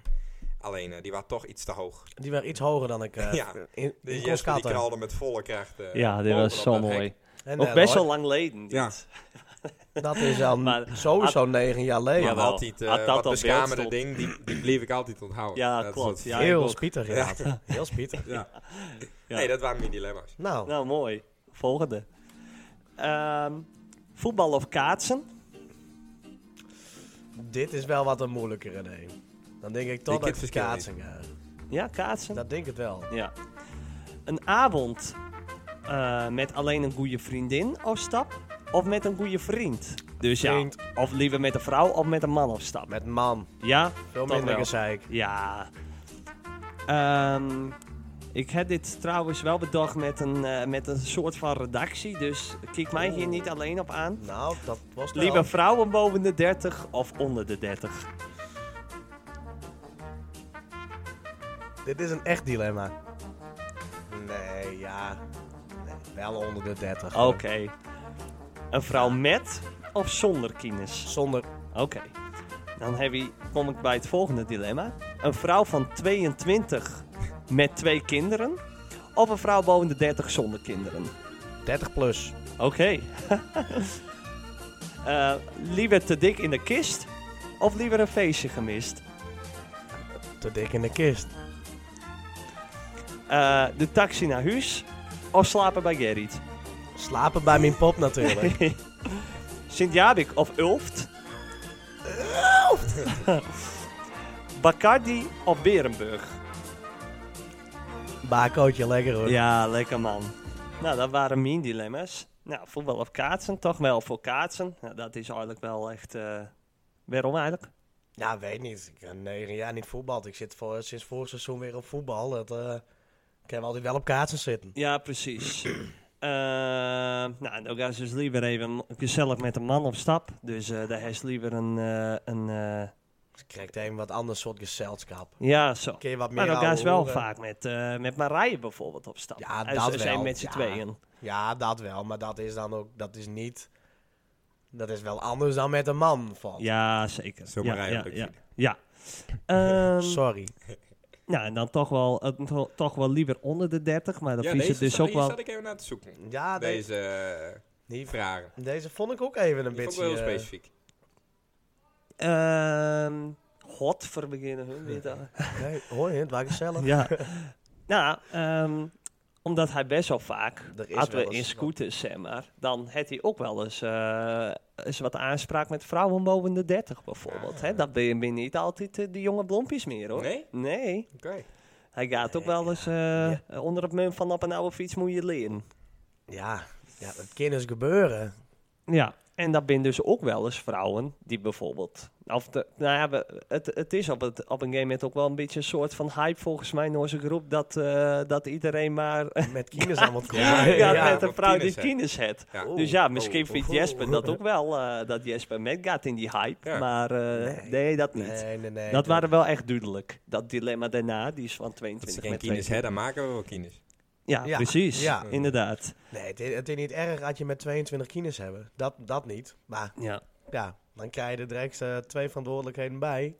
Speaker 2: Alleen, eh, die was toch iets te hoog.
Speaker 3: die waren iets hoger dan ik eh
Speaker 2: Ja.
Speaker 3: in, in
Speaker 2: Dus
Speaker 3: kon
Speaker 2: Jesper die
Speaker 3: schatten.
Speaker 2: knalde met volle kracht. eh,
Speaker 1: Ja, dit was zo
Speaker 2: bovenop dat hek.
Speaker 1: mooi.
Speaker 3: En
Speaker 1: Ook
Speaker 3: net,
Speaker 1: best wel
Speaker 3: hoor.
Speaker 1: lang geleden. dit.
Speaker 2: Ja.
Speaker 3: Dat is al
Speaker 1: Maar- Ah.
Speaker 3: sowieso negen jaar
Speaker 2: Maar
Speaker 3: geleden.
Speaker 1: Jawel.
Speaker 2: altijd, eh
Speaker 1: Had dat
Speaker 2: wat
Speaker 1: op beeld
Speaker 2: beschamende
Speaker 1: stond.
Speaker 2: ding, die, die bleef ik altijd onthouden.
Speaker 1: Ja,
Speaker 2: is
Speaker 1: klopt,
Speaker 2: wat-
Speaker 1: ja.
Speaker 3: Heel
Speaker 1: ook.
Speaker 3: spietig, ja. Heel spietig.
Speaker 2: Ja.
Speaker 1: Ja.
Speaker 2: Nee, dat waren mijn dilemma's.
Speaker 3: Nou,
Speaker 1: Nou, mooi. Volgende. Ehm, voetbal of kaatsen?
Speaker 3: dit is wel wat een moeilijkere, nee. Dan denk ik toch
Speaker 2: Ik
Speaker 3: dat
Speaker 2: het
Speaker 3: ik
Speaker 2: verschil
Speaker 3: kaatsen ga.
Speaker 1: Ja, kaatsen.
Speaker 3: Dat denk ik wel.
Speaker 1: Ja. Een avond eh, met alleen een goede vriendin of stap, of met een goede vriend. Dus ja,
Speaker 3: Vriend.
Speaker 1: of liever met een vrouw of met een man op stap.
Speaker 3: Met een man.
Speaker 1: Ja,
Speaker 3: Veel
Speaker 1: dat
Speaker 3: minder
Speaker 1: wel.
Speaker 3: gezeik.
Speaker 1: Ja. Ehm, ik heb dit trouwens wel bedacht met een, eh, met een soort van redactie, dus kijk mij hier niet alleen op aan.
Speaker 3: Nou, dat was wel...
Speaker 1: Liever vrouwen boven de 30 of onder de 30?
Speaker 3: Dit is een echt dilemma. Nee, ja. Nee, wel onder de 30.
Speaker 1: Oké. Een vrouw met of zonder kines?
Speaker 3: Zonder...
Speaker 1: Oké. Dan heb je, kom ik bij het volgende dilemma. Een vrouw van 22 met twee kinderen. Of een vrouw boven de 30 zonder kinderen.
Speaker 3: 30 plus.
Speaker 1: Oké. Eh, liever te dik in de kist. Of liever een feestje gemist.
Speaker 3: Te dik in de kist.
Speaker 1: Eh, de taxi naar huis. Of slapen bij Gerrit.
Speaker 3: Slapen bij mijn pop natuurlijk.
Speaker 1: Sint-Jabik of Ulft. Ulft! Bacardi of Berenburg.
Speaker 3: Bakootje lekker hoor.
Speaker 1: Ja, lekker man. Nou, dat waren mijn dilemma's. Nou, voetbal of kaatsen, toch wel voor kaatsen. Nou, dat is eigenlijk wel echt... eh waarom eigenlijk?
Speaker 3: Ja, Nou, weet niet. Ik ben negen jaar niet voetbald. Ik zit voor, sinds vorig seizoen weer op voetbal. Dat, eh, ik heb altijd wel op kaatsen zitten.
Speaker 1: Ja, precies. Eh, nou, dan gaan ze dus liever even gezellig met een man op stap. Dus eh daar is liever een... eh, een eh,
Speaker 3: Dus ik krijg een wat ander soort gezelschap.
Speaker 1: ja, zo.
Speaker 3: Kun je wat meer
Speaker 1: Maar dan gaan ze wel
Speaker 3: ouwe hoeren.
Speaker 1: vaak met, eh, met Marije bijvoorbeeld op stap.
Speaker 3: Ja,
Speaker 1: En
Speaker 3: dat
Speaker 1: ze zijn
Speaker 3: wel.
Speaker 1: met z'n
Speaker 3: Ja.
Speaker 1: tweeën.
Speaker 3: Ja, dat wel. Maar dat is dan ook... Dat is niet... Dat is wel anders dan met een man. Van.
Speaker 1: Ja, zeker.
Speaker 2: Zo
Speaker 1: ja,
Speaker 2: Marije
Speaker 1: ja,
Speaker 2: lukt
Speaker 1: ja.
Speaker 2: niet.
Speaker 1: ja. Ehm,
Speaker 3: Sorry.
Speaker 1: Nou, en dan toch wel, eh, to- toch wel liever onder de 30, maar dan
Speaker 2: ja,
Speaker 1: vies
Speaker 2: deze
Speaker 1: het dus
Speaker 2: zat-
Speaker 1: ook
Speaker 2: hier
Speaker 1: wel.
Speaker 2: zat ik even naar te zoeken.
Speaker 3: Ja, Ah, deze.
Speaker 2: Deze eh,
Speaker 3: Die
Speaker 2: vragen.
Speaker 3: Deze vond ik ook even
Speaker 2: Die
Speaker 3: een
Speaker 2: vond ik
Speaker 3: beetje...
Speaker 2: wel heel
Speaker 3: eh,
Speaker 2: specifiek.
Speaker 1: Ehm God voor beginnen hun weet dat.
Speaker 3: eh, nee, hoor je het? Waar gezellig.
Speaker 1: Ja. nou, ehm, omdat hij best wel vaak,
Speaker 3: Er is
Speaker 1: hadden
Speaker 3: wel
Speaker 1: we in
Speaker 3: eens
Speaker 1: scooters, zeg maar, dan had hij ook wel eens, eh, eens wat aanspraak met vrouwen boven de 30 bijvoorbeeld. Hè? Dat ben je ben je niet altijd eh, de jonge blompjes meer hoor.
Speaker 2: Nee?
Speaker 1: Nee.
Speaker 2: Oké.
Speaker 1: Hij gaat ook wel eens eh, onder het munt van op een oude fiets moet je leren.
Speaker 3: Ja, ja dat kan dus gebeuren.
Speaker 1: Ja, en dat zijn dus ook wel eens vrouwen die bijvoorbeeld. Of de, nou ja, we- het, het is op, het, op een game moment ook wel een beetje een soort van hype volgens mij nou, in onze groep. Dat, eh, dat iedereen maar
Speaker 3: Met kines aan wat komen. Oh.
Speaker 2: Ja,
Speaker 1: gaat
Speaker 2: ja,
Speaker 1: met
Speaker 2: wat
Speaker 1: een vrouw
Speaker 2: tieners
Speaker 1: die
Speaker 2: heeft.
Speaker 1: tieners heeft.
Speaker 2: Ja.
Speaker 3: Oeh.
Speaker 1: Dus ja, misschien
Speaker 3: oeh,
Speaker 1: vindt
Speaker 3: oeh.
Speaker 1: Jesper dat ook wel. eh, dat Jesper met gaat in die hype.
Speaker 2: Ja.
Speaker 1: Maar eh, nee.
Speaker 3: Nee.
Speaker 1: dat niet.
Speaker 3: Nee, nee, nee.
Speaker 1: dat waren wel echt duidelijk. Dat dilemma daarna, die is van
Speaker 2: Dat ze
Speaker 1: 22
Speaker 2: geen
Speaker 1: met
Speaker 2: kines
Speaker 1: 22.
Speaker 2: hebben, dan maken we wel kines.
Speaker 1: Ja,
Speaker 3: Ja,
Speaker 1: precies.
Speaker 3: ja.
Speaker 1: Inderdaad.
Speaker 3: Nee, het is, het is niet erg dat je met 22 kines hebben. Dat, dat niet. Maar
Speaker 1: Ja.
Speaker 3: ja, dan krijg je er direct eh, twee verantwoordelijkheden bij.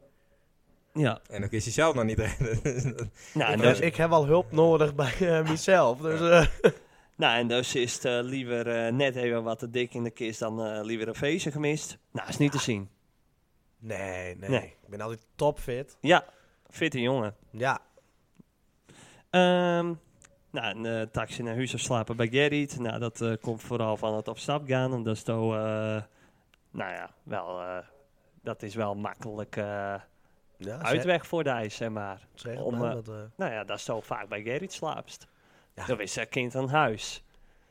Speaker 1: ja.
Speaker 2: En dan is hij zelf nog niet redden.
Speaker 1: Nou, en
Speaker 3: dus
Speaker 1: dat-
Speaker 3: ik heb al hulp nodig bij eh, mezelf. Dus, eh,
Speaker 1: Nou, en dus is het eh, liever eh, net even wat te dik in de kist dan eh, liever een feestje gemist. Nou, is niet te zien.
Speaker 3: nee, nee,
Speaker 1: Nee.
Speaker 3: Ik ben altijd topfit.
Speaker 1: Ja, fitte jongen.
Speaker 3: Ja,
Speaker 1: Ehm, nou, een eh, taxi naar huis of slapen bij Gerrit. Nou, dat eh, komt vooral van het op stap gaan. En dat is toch, eh, nou ja, wel, eh, dat is wel makkelijk eh,
Speaker 3: ja
Speaker 1: uitweg voor de ijs, zeg maar.
Speaker 3: zeg- zeg het
Speaker 1: om,
Speaker 3: maar,
Speaker 1: eh,
Speaker 3: dat, eh,
Speaker 1: Nou ja, dat is zo vaak bij Gerrit slaapst.
Speaker 3: Ja.
Speaker 1: Dan is dat kind aan huis.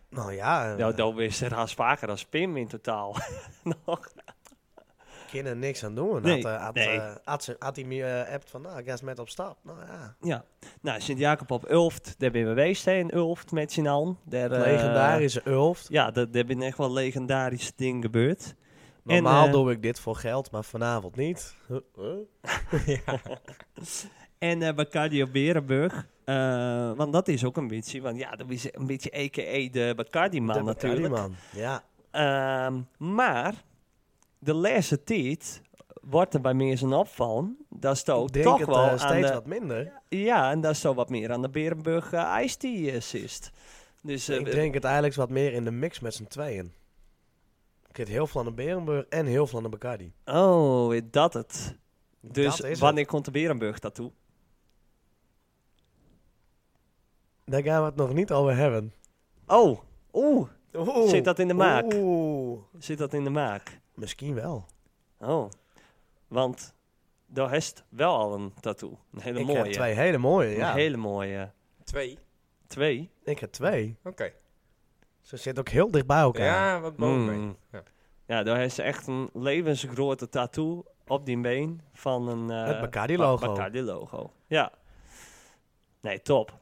Speaker 3: nou ja, eh,
Speaker 1: Nou, dan is er haast vaker als Pim in totaal. Nog.
Speaker 3: kinderen niks aan doen.
Speaker 1: Nee,
Speaker 3: had, eh, had,
Speaker 1: nee.
Speaker 3: eh, had ze- had hij me eh, appt van, nou, ik ga eens met op stap. Nou ja,
Speaker 1: Ja, nou, Sint-Jacob op Ulft, daar ben je geweest hè, in Ulft met z'n allen. Daar, eh,
Speaker 3: legendarische Ulft.
Speaker 1: Ja, daar daar ben echt wel legendarische dingen gebeurd.
Speaker 3: Normaal
Speaker 1: eh,
Speaker 3: doe ik dit voor geld, maar vanavond niet. Huh? Huh?
Speaker 1: En eh Bacardi op Berenburg, eh, want dat is ook een beetje, want ja, dat is een beetje a.k.a. de Bacardi-man
Speaker 3: De
Speaker 1: natuurlijk.
Speaker 3: Bacardi-man. Ja.
Speaker 1: Ehm, maar de laatste tijd wordt er bij mensen opvallen, dat is toch,
Speaker 3: Ik denk
Speaker 1: Oh, toch
Speaker 3: het
Speaker 1: wel
Speaker 3: eh,
Speaker 1: aan
Speaker 3: steeds
Speaker 1: de,
Speaker 3: wat minder.
Speaker 1: Ja, en dat is zo wat meer aan de Berenburg eh, Ice Tea eh, zist. Dus eh,
Speaker 3: ik
Speaker 1: we-
Speaker 3: drink het eigenlijk wat meer in de mix met z'n tweeën. Ik heb heel veel aan de Berenburg en heel veel aan de Bacardi.
Speaker 1: oh, is dat het? Dus
Speaker 3: dat is
Speaker 1: wanneer komt de Berenburg daartoe?
Speaker 3: het. Daar gaan we het nog niet over hebben.
Speaker 1: Oh, oeh,
Speaker 3: Oeh.
Speaker 1: Zit dat in de maak?
Speaker 3: Oeh.
Speaker 1: zit dat in de maak?
Speaker 3: Misschien wel.
Speaker 1: Oh, want daar heeft wel al een tattoo. Een hele
Speaker 3: ik
Speaker 1: mooie.
Speaker 3: heb twee hele mooie,
Speaker 1: Een
Speaker 3: ja.
Speaker 1: hele mooie.
Speaker 2: Twee?
Speaker 1: Twee.
Speaker 3: Ik heb twee.
Speaker 2: Oké.
Speaker 3: Ze zitten ook heel dicht bij elkaar.
Speaker 2: Ja, wat boven.
Speaker 1: Mm.
Speaker 2: Ja.
Speaker 1: Ja, daar heeft ze echt een levensgrote tattoo op die been van een... eh,
Speaker 3: Het Bacardi-logo.
Speaker 1: Ba- Bacardi-logo, ja. Nee, top.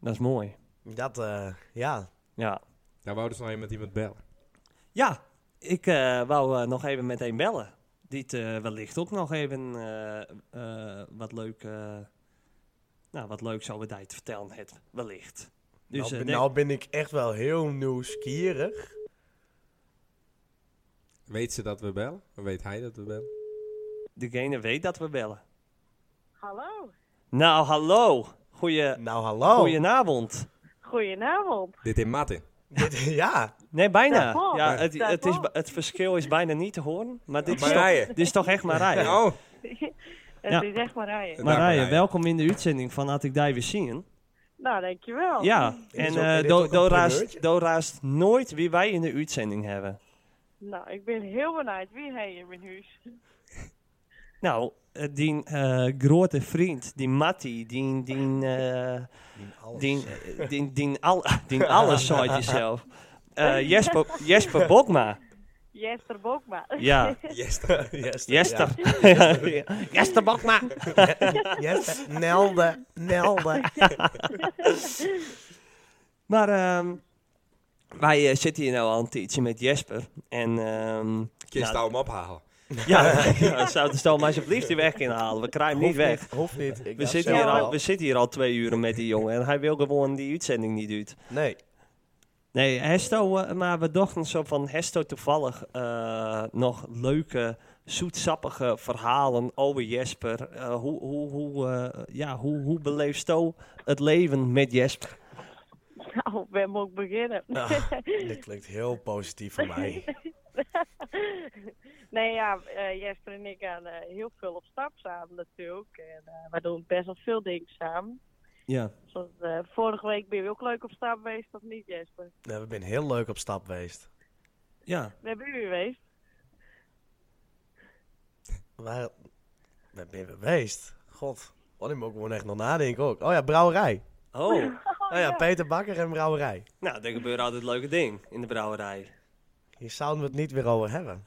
Speaker 1: Dat is mooi.
Speaker 3: Dat, eh, ja.
Speaker 1: Ja,
Speaker 2: Daar wou dus nog even met iemand bellen.
Speaker 1: ja ik eh, wou eh, nog even meteen bellen. Die eh wellicht ook nog even eh, eh, wat leuk... eh, nou, wat leuk zou we daar te vertellen het wellicht. Dus,
Speaker 3: nou,
Speaker 1: eh,
Speaker 3: ben-
Speaker 1: nee-
Speaker 3: nou ben ik echt wel heel nieuwsgierig.
Speaker 2: Weet ze dat we bellen? Of weet hij dat we bellen?
Speaker 1: degene weet dat we bellen.
Speaker 6: Hallo,
Speaker 1: Nou, hallo. Goeie,
Speaker 3: Nou, hallo.
Speaker 1: Goedenavond.
Speaker 6: goedenavond.
Speaker 2: Dit in Martin.
Speaker 3: Dit- ja,
Speaker 1: Nee, bijna.
Speaker 6: Daarvoor.
Speaker 1: Ja, het,
Speaker 6: Daarvoor.
Speaker 1: het, is, ba- het verschil is bijna niet te horen. Maar dit, is, toch,
Speaker 2: Marije.
Speaker 1: dit is toch echt Marije.
Speaker 2: Oh,
Speaker 6: Het
Speaker 1: Ja.
Speaker 6: is echt Marije.
Speaker 1: Marije,
Speaker 2: Marije.
Speaker 1: welkom in de uitzending van Had ik daar weer zien.
Speaker 6: Nou, dankjewel.
Speaker 1: Ja,
Speaker 3: is
Speaker 1: en
Speaker 3: ook- dit
Speaker 1: eh
Speaker 3: is
Speaker 1: do-
Speaker 3: ook een
Speaker 1: do raast,
Speaker 3: primeurtje.
Speaker 1: do raast nooit wie wij in de uitzending hebben.
Speaker 6: Nou, ik ben heel benieuwd wie hij in mijn huis.
Speaker 1: Nou, eh, die eh, grote vriend, die Matti, die, die, eh,
Speaker 3: alles.
Speaker 1: die, eh, die, die, al, die alles, zei je zelf. Eh, Jesper, Jesper Bokma.
Speaker 6: Jester Bokma.
Speaker 1: Ja,
Speaker 2: Jester.
Speaker 3: Yes,
Speaker 1: Jester. Jester Bokma.
Speaker 3: ja. Yes, Nelde, Nelde.
Speaker 1: Maar ehm, wij eh, zitten hier nou al een tijdje met Jesper. En ehm,
Speaker 2: Kist
Speaker 1: nou,
Speaker 2: nou hem ophalen.
Speaker 1: ja, ja, zou de stal maar alsjeblieft die weg inhalen. We krijgen hem niet weg.
Speaker 3: Hoeft niet. Ik
Speaker 1: We
Speaker 3: had
Speaker 1: zitten,
Speaker 3: zelf
Speaker 1: hier al,
Speaker 3: wel.
Speaker 1: we zitten hier al twee uren met die jongen en hij wil gewoon die uitzending niet uit.
Speaker 3: Nee,
Speaker 1: Nee, Hesto, eh, maar we dachten zo van Hesto toevallig eh, nog leuke, zoetsappige verhalen over Jesper. Eh, hoe, hoe, hoe, eh, ja, hoe, hoe beleeft Sto het leven met Jesper?
Speaker 6: Nou, waar moet ik beginnen?
Speaker 3: dit klinkt heel positief voor mij.
Speaker 6: nee, ja, eh, Jesper en ik gaan eh, heel veel op stap samen natuurlijk. En eh, we doen best wel veel dingen samen.
Speaker 1: Ja.
Speaker 6: Zoals, eh, vorige week ben je ook leuk op stap geweest, of niet Jesper?
Speaker 3: Nou, we zijn heel leuk op stap geweest.
Speaker 1: Ja,
Speaker 6: Waar ben je geweest?
Speaker 3: Waar, waar ben je geweest? God, wat ik moet gewoon echt nog nadenken ook. Oh ja, brouwerij.
Speaker 1: Oh,
Speaker 3: Oh ja, Peter Bakker en brouwerij.
Speaker 1: nou, er gebeuren altijd leuke dingen in de brouwerij.
Speaker 3: Hier zouden we het niet weer over hebben.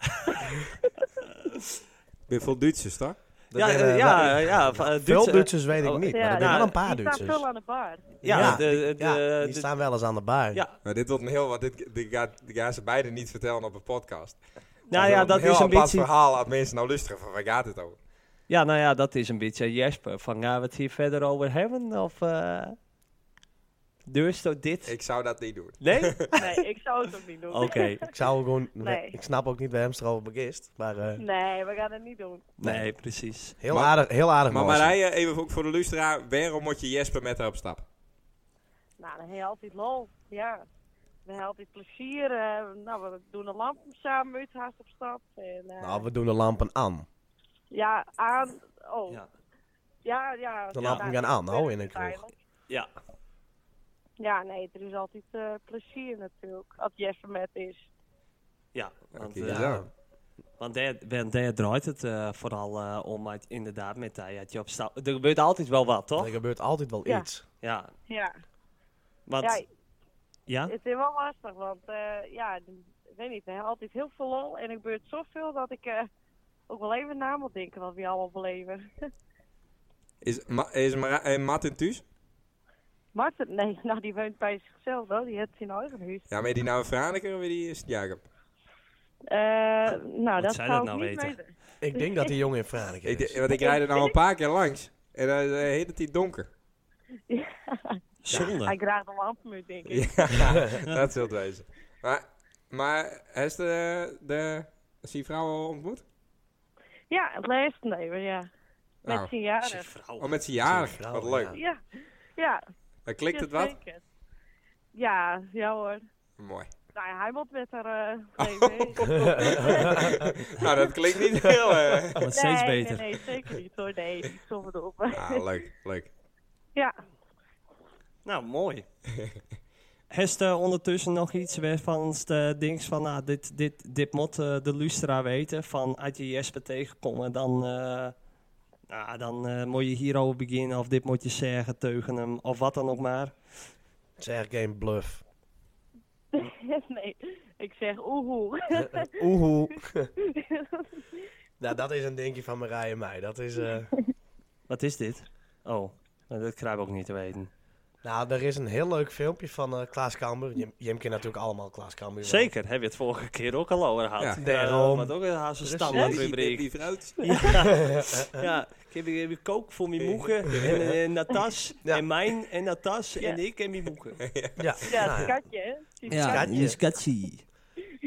Speaker 2: Ik ben vol Duitsers, toch?
Speaker 3: Dat
Speaker 1: ja,
Speaker 3: hebben
Speaker 1: eh,
Speaker 3: we-
Speaker 1: ja, ja, van, eh,
Speaker 3: Veel
Speaker 1: Duitse-
Speaker 3: Duitsers weet ik niet, maar er zijn
Speaker 1: nou,
Speaker 3: wel een paar dus.
Speaker 6: die staan
Speaker 3: Duitsers.
Speaker 6: veel aan de bar.
Speaker 1: Ja, de,
Speaker 3: die-
Speaker 1: de,
Speaker 3: ja,
Speaker 1: de-
Speaker 3: die
Speaker 1: de-
Speaker 3: staan wel eens aan de bar.
Speaker 1: Eh, Ja.
Speaker 2: Maar Nou, dit wordt een heel... Want dit, dit gaat, dit gaan ze beiden niet vertellen op een podcast.
Speaker 1: nou ja, dat is een
Speaker 2: heel apart
Speaker 1: beetje...
Speaker 2: verhaal aan mensen nou luisteren. Van waar gaat het over?
Speaker 1: Ja, nou ja, dat is een beetje Jesper. Van, gaan we het hier verder over hebben? Of, eh dus zo dit?
Speaker 2: Ik zou dat niet doen.
Speaker 1: Nee? Oké.
Speaker 6: Nee, ik zou het ook niet doen.
Speaker 3: Ik zou gewoon,
Speaker 6: Nee.
Speaker 3: ik snap ook niet waar hem het erover begist, maar eh,
Speaker 6: Nee, we gaan het niet doen.
Speaker 1: Nee, precies.
Speaker 3: heel
Speaker 2: Maar-
Speaker 3: aardig, heel aardig.
Speaker 2: Maar
Speaker 3: was het.
Speaker 2: Marije, even ook voor de luisteraar. Waarom moet je Jesper met haar op stap?
Speaker 6: Nou, dan heb je altijd lol. Ja. We hebben altijd plezier. eh, nou, we doen de lampen samen uit haast op stap. En, eh,
Speaker 3: Nou, we doen de lampen aan.
Speaker 6: Ja, aan. Oh, ja,
Speaker 1: Ja.
Speaker 6: ja. ja
Speaker 3: De lampen gaan aan, oh, in een kroeg.
Speaker 6: uiteindelijk.
Speaker 1: Ja.
Speaker 6: Ja, nee, er is altijd eh, plezier natuurlijk. Als Jesper met is.
Speaker 1: Ja, want,
Speaker 2: Oké,
Speaker 1: eh,
Speaker 2: zo.
Speaker 1: want daar, want daar draait het eh, vooral eh, om, maar het- inderdaad, met dat je- dat je op stap... Er gebeurt altijd wel wat, toch?
Speaker 3: Er gebeurt altijd wel
Speaker 6: Ja.
Speaker 3: iets.
Speaker 1: Ja,
Speaker 6: Ja. ja,
Speaker 1: want... Ja?
Speaker 6: het is wel lastig, want eh, ja, de- ik weet niet, we hebben altijd heel veel lol en er gebeurt zoveel dat ik eh, ook wel even na moet denken wat we allemaal beleven.
Speaker 2: Is, Ma- is Mara- eh, Martin thuis?
Speaker 6: Marten, nee, nou die woont bij zichzelf hoor, die heeft zijn eigen huis.
Speaker 2: Ja, maar is die nou een Franeker of die is Jacob?
Speaker 6: Eh, nou, dat
Speaker 1: zij
Speaker 6: zou
Speaker 1: dat
Speaker 6: ik
Speaker 1: nou
Speaker 6: niet
Speaker 1: weten?
Speaker 6: weten.
Speaker 3: Ik denk dat die jongen in Franeker
Speaker 2: Ik,
Speaker 3: is.
Speaker 2: de- want ik rijd er nou een paar keer langs. En dan uh, heet het die donker.
Speaker 6: Hij
Speaker 1: Zonde.
Speaker 6: draagt een lamp uit, denk ik.
Speaker 2: Dat zult wezen. Maar, maar heeft de, de, zijn vrouw al ontmoet?
Speaker 6: Ja, het laatste nee, ja. Met
Speaker 2: Nou,
Speaker 6: zijn jaren.
Speaker 1: Zijn vrouw.
Speaker 2: Oh, met zijn jarig.
Speaker 3: Zijn vrouw,
Speaker 2: Wat leuk.
Speaker 3: ja.
Speaker 6: Ja, ja.
Speaker 2: Dan klikt
Speaker 6: ja,
Speaker 2: het wat.
Speaker 6: zeker. Ja, ja hoor.
Speaker 2: Mooi.
Speaker 6: Nou ja, hij moet met haar eh, leven. heen.
Speaker 2: nou, dat klinkt niet heel... eh.
Speaker 1: Wordt steeds
Speaker 6: nee,
Speaker 1: beter.
Speaker 6: Nee, nee, zeker niet hoor. Nee, die stomme doppen.
Speaker 2: Ah, leuk, leuk.
Speaker 6: Ja.
Speaker 1: Nou, mooi. Heeft eh, ondertussen nog iets waarvan de dings van, nou, dit, dit, dit moet eh, de Lustra weten, van als je Jesper tegenkomt, dan, eh, nou, dan eh, moet je hierover beginnen, of dit moet je zeggen tegen hem, of wat dan ook maar.
Speaker 3: Het is echt geen bluff.
Speaker 6: nee, ik zeg oehoe.
Speaker 3: Oehoe. nou, dat is een dingje van Marije en mij. Dat is... eh,
Speaker 1: Wat is dit? Oh, nou, dat krijg ik ook niet te weten.
Speaker 3: nou, er is een heel leuk filmpje van eh, Klaas Kamber. Jim, Jim kent natuurlijk allemaal Klaas Kamber.
Speaker 1: Zeker, hebben we het vorige keer ook al over gehad.
Speaker 2: Ja.
Speaker 1: Eh,
Speaker 3: Daarom.
Speaker 1: wat ook een haast
Speaker 3: Precies.
Speaker 1: standaard
Speaker 2: Die-
Speaker 1: rubriek.
Speaker 2: Die vrouwtje.
Speaker 1: Ja, ik heb, ik heb kook voor mijn moeken en, eh, en Natas
Speaker 3: Ja.
Speaker 1: en mijn en Natas
Speaker 6: Ja.
Speaker 1: en ik en mijn moeken.
Speaker 3: Ja,
Speaker 6: Ja,
Speaker 3: nou
Speaker 6: het
Speaker 3: ja.
Speaker 6: katje. hè? Die
Speaker 3: Skatje. die
Speaker 1: skatje.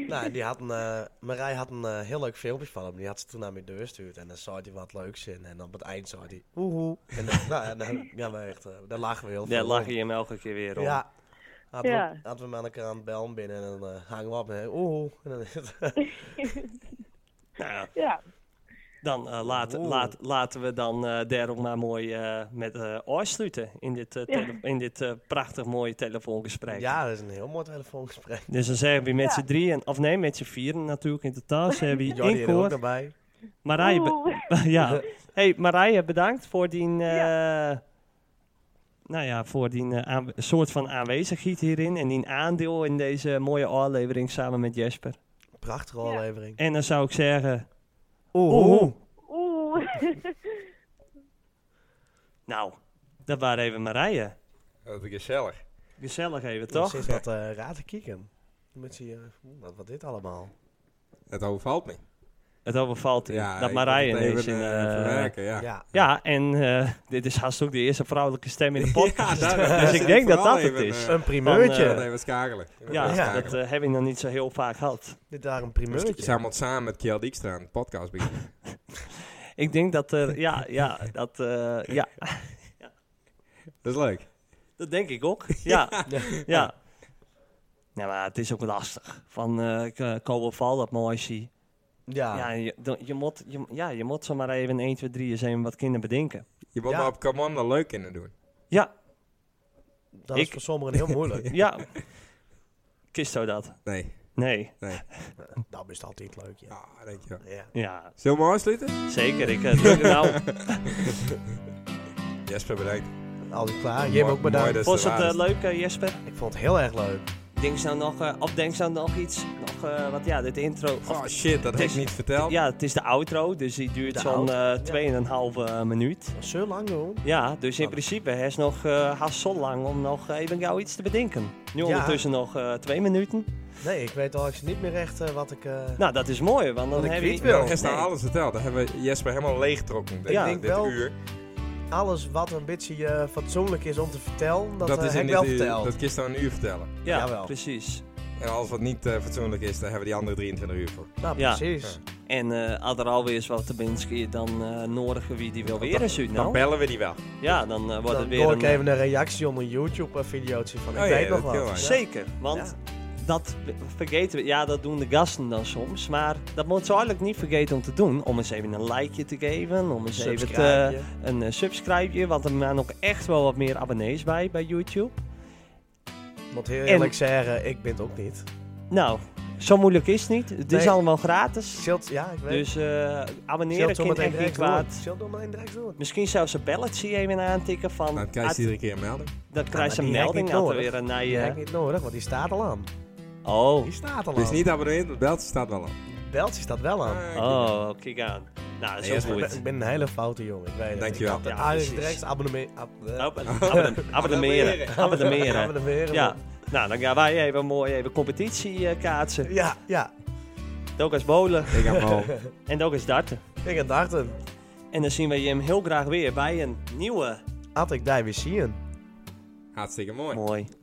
Speaker 3: Nou, die had een, eh, Marij had een eh, heel leuk filmpje van hem. Die had ze toen naar mijn deur gestuurd. En dan zag hij wat leuks in. En op het eind zag hij... Oehoe. En dan, nou, en dan, ja, maar echt, eh, daar lachen we heel veel
Speaker 1: Daar lag
Speaker 3: om.
Speaker 1: je hem elke keer weer om. Ja.
Speaker 3: Ja. Hadden,
Speaker 6: Ja.
Speaker 3: We, hadden we met elkaar aan het bellen binnen en dan eh, hangen we op. En, oeh, en dan is het-
Speaker 1: Nou, ja,
Speaker 6: Ja,
Speaker 1: dan eh, laat,
Speaker 3: Wow.
Speaker 1: laat, laten we dan eh daar ook maar mooi eh, met eh afsluiten in dit, eh,
Speaker 6: Ja.
Speaker 1: tele- in dit eh, prachtig mooie telefoongesprek.
Speaker 3: ja, dat is een heel mooi telefoongesprek.
Speaker 1: Dus dan zeggen we met
Speaker 6: Ja.
Speaker 1: z'n drieën, of nee, met z'n vieren natuurlijk in totaal, zeggen we
Speaker 3: Jordi
Speaker 1: in
Speaker 3: er ook
Speaker 1: koor.
Speaker 3: nog bij.
Speaker 1: Marije, Nou, be-
Speaker 6: oeh.
Speaker 1: ja. Hey, Marije, bedankt voor die, eh, nou ja, voor die eh, aan- soort van aanwezigheid hierin en die aandeel in deze mooie aflevering samen met Jesper.
Speaker 3: Prachtige
Speaker 6: Ja.
Speaker 3: aflevering.
Speaker 1: En dan zou ik zeggen,
Speaker 3: Oeh.
Speaker 6: Oeh.
Speaker 1: nou, dat waren even Marije.
Speaker 2: Wat gezellig.
Speaker 1: Gezellig even,
Speaker 3: Toch?
Speaker 1: toch?
Speaker 3: Is dat eh raar te kieken. Dan moet je, eh, oeh, wat, wat dit allemaal?
Speaker 2: Het overvalt me.
Speaker 1: Het overvalt je dat
Speaker 2: ik
Speaker 1: Marije
Speaker 2: moet het
Speaker 1: ineens in...
Speaker 2: even, eh,
Speaker 1: eh,
Speaker 2: verwerken, ja.
Speaker 3: Ja.
Speaker 1: ja, en eh, dit is haast ook de eerste vrouwelijke stem in de podcast.
Speaker 2: Ja, daar-
Speaker 1: dus ik denk dat
Speaker 2: vooral
Speaker 1: dat het
Speaker 2: even,
Speaker 1: is.
Speaker 2: eh,
Speaker 3: Een primeurtje.
Speaker 1: Van,
Speaker 2: dat even schakelen.
Speaker 1: Ja,
Speaker 3: Ja.
Speaker 1: dat eh, heb ik nog niet zo heel vaak gehad.
Speaker 3: Dit daar een
Speaker 2: We
Speaker 3: primeurtje.
Speaker 2: zijn wat samen Dus met Kjell Dijkstra aan de podcast beginnen.
Speaker 1: Ik denk dat er, ja, ja, dat, eh, ja,
Speaker 2: Dat is leuk.
Speaker 1: Dat denk ik ook. Ja. ja. ja. maar het is ook lastig. Van eh, ik eh, koop op val dat mooi zie.
Speaker 3: Ja.
Speaker 1: Ja, je, dan- je moet, je, ja, je moet zomaar even 1, 2, 3 eens even wat kinderen bedenken.
Speaker 2: Je moet
Speaker 3: Ja.
Speaker 2: maar op commando leuk kunnen doen.
Speaker 1: Ja,
Speaker 3: dat
Speaker 1: ik-
Speaker 3: is voor sommigen heel moeilijk.
Speaker 1: ja. Kist zo dat?
Speaker 2: Nee.
Speaker 1: Nee.
Speaker 3: dat is altijd leuk, ja.
Speaker 2: Ah, denk je wel.
Speaker 3: ja.
Speaker 1: Ja,
Speaker 2: Zullen we maar afsluiten?
Speaker 1: zeker. Ik eh, druk het nou.
Speaker 2: Jesper, bedankt.
Speaker 3: Altijd klaar. Jim ook bedankt.
Speaker 2: Mooi dat
Speaker 1: Vond
Speaker 2: ze
Speaker 1: je
Speaker 2: er
Speaker 1: het
Speaker 2: waren.
Speaker 1: eh, leuk, eh, Jesper?
Speaker 3: ik vond het heel erg leuk.
Speaker 1: Denk ze nou nog, eh, of denk ze nou nog iets? Nog eh, wat, ja, dit intro.
Speaker 2: Oh shit, dat heb ik niet verteld.
Speaker 1: Ja, het is de outro, dus die duurt
Speaker 3: De
Speaker 1: zo'n
Speaker 3: outro,
Speaker 1: eh
Speaker 3: ja.
Speaker 1: 2,5 eh, minuut.
Speaker 3: Zo lang, hoor.
Speaker 1: Ja, dus in
Speaker 3: Oh.
Speaker 1: principe is nog eh, haast zo lang om nog eh, even jou iets te bedenken. Nu
Speaker 3: Ja.
Speaker 1: ondertussen nog eh, twee minuten.
Speaker 3: Nee, ik weet al eens niet meer echt eh, wat ik... eh,
Speaker 1: Nou, dat is mooi, want dan
Speaker 3: ik
Speaker 1: heb
Speaker 3: weet
Speaker 1: je...
Speaker 3: wel.
Speaker 2: Nou, gisteren
Speaker 1: Nee.
Speaker 2: alles verteld. Dan hebben we Jesper helemaal leeggetrokken. Dit,
Speaker 1: Ja.
Speaker 2: dit
Speaker 3: Ik denk wel-
Speaker 2: uur. Nou.
Speaker 3: alles wat een beetje eh, fatsoenlijk is om te vertellen, dat, eh,
Speaker 2: is
Speaker 3: heb
Speaker 2: in
Speaker 3: ik wel
Speaker 2: dit uur-
Speaker 3: verteld.
Speaker 2: Dat kist dan een uur vertellen.
Speaker 1: Ja,
Speaker 3: Jawel.
Speaker 1: precies.
Speaker 2: En alles wat niet eh, fatsoenlijk is, daar hebben we die andere 23 uur voor.
Speaker 3: Nou,
Speaker 1: Ja.
Speaker 3: precies.
Speaker 1: En eh als er alweer eens wat te binnen is, dan eh nodigen wie die wel weer eens uit.
Speaker 2: Dan
Speaker 1: Nou.
Speaker 2: bellen we die wel.
Speaker 1: Ja, dan eh, wordt
Speaker 3: Dan
Speaker 1: het
Speaker 3: doe
Speaker 1: weer
Speaker 3: ik
Speaker 1: een...
Speaker 3: even een reactie onder een YouTube-videootje van, ik
Speaker 2: Oh ja,
Speaker 3: weet nog
Speaker 2: dat kan wel,
Speaker 3: wat.
Speaker 2: ja.
Speaker 1: eh, Zeker, want dat vergeten we. Ja, dat doen de gasten dan soms. Maar dat moet ze eigenlijk niet vergeten om te doen. Om eens even een likeje te geven. Om eens even te,
Speaker 3: Subscribeje.
Speaker 1: een eh, subscribeje. Want er zijn ook echt wel wat meer abonnees bij, bij YouTube.
Speaker 3: Want heel eerlijk zeggen, ik ben het ook niet.
Speaker 1: Nou, zo moeilijk is het niet. Het is
Speaker 3: Nee.
Speaker 1: allemaal gratis.
Speaker 3: Zult, ja, ik weet
Speaker 1: Dus eh
Speaker 3: Zult
Speaker 1: abonneren kan
Speaker 3: zometeen
Speaker 1: echt niet
Speaker 3: direct doen.
Speaker 1: kwaad.
Speaker 3: Zult zometeen direct doen.
Speaker 1: Misschien zou ze belletje even aantikken
Speaker 3: Nou,
Speaker 1: van...
Speaker 2: Dan krijg
Speaker 1: ah,
Speaker 2: je iedere keer een melding.
Speaker 1: dan krijgt ze
Speaker 3: Ah, maar
Speaker 1: een
Speaker 3: die heb ik
Speaker 1: melding
Speaker 3: niet
Speaker 1: dat er
Speaker 3: nodig.
Speaker 1: weer een
Speaker 3: Die heb
Speaker 1: nije...
Speaker 3: ik niet nodig, want die staat al aan.
Speaker 1: Oh,
Speaker 3: Die staat al aan.
Speaker 2: Dus niet abonneerd, het beltje staat wel aan.
Speaker 3: Beltje staat wel aan.
Speaker 2: Ah,
Speaker 1: oh, kijk aan. Nou, dat
Speaker 2: Nee,
Speaker 1: is
Speaker 2: dat
Speaker 1: ook
Speaker 2: is
Speaker 1: goed.
Speaker 3: Ik ben, ik ben een hele foute jongen, ik weet het.
Speaker 2: Dankjewel.
Speaker 3: Ik had
Speaker 1: Ja,
Speaker 3: de Ajax
Speaker 1: precies.
Speaker 3: direct abonnement... Ab, eh,
Speaker 1: Ab- abonne- Abonneren. Abonneren.
Speaker 3: abonneren.
Speaker 1: Ja. Nou, dan gaan wij even mooi even competitie eh, kaatsen.
Speaker 3: Ja, ja.
Speaker 1: Ook als bowlen
Speaker 2: Ik heb al.
Speaker 1: en ook als darten.
Speaker 3: Ik had dachten,
Speaker 1: En dan zien we Jim heel graag weer bij een nieuwe.
Speaker 3: had ik daar weer zien.
Speaker 2: Hartstikke mooi.
Speaker 1: Mooi.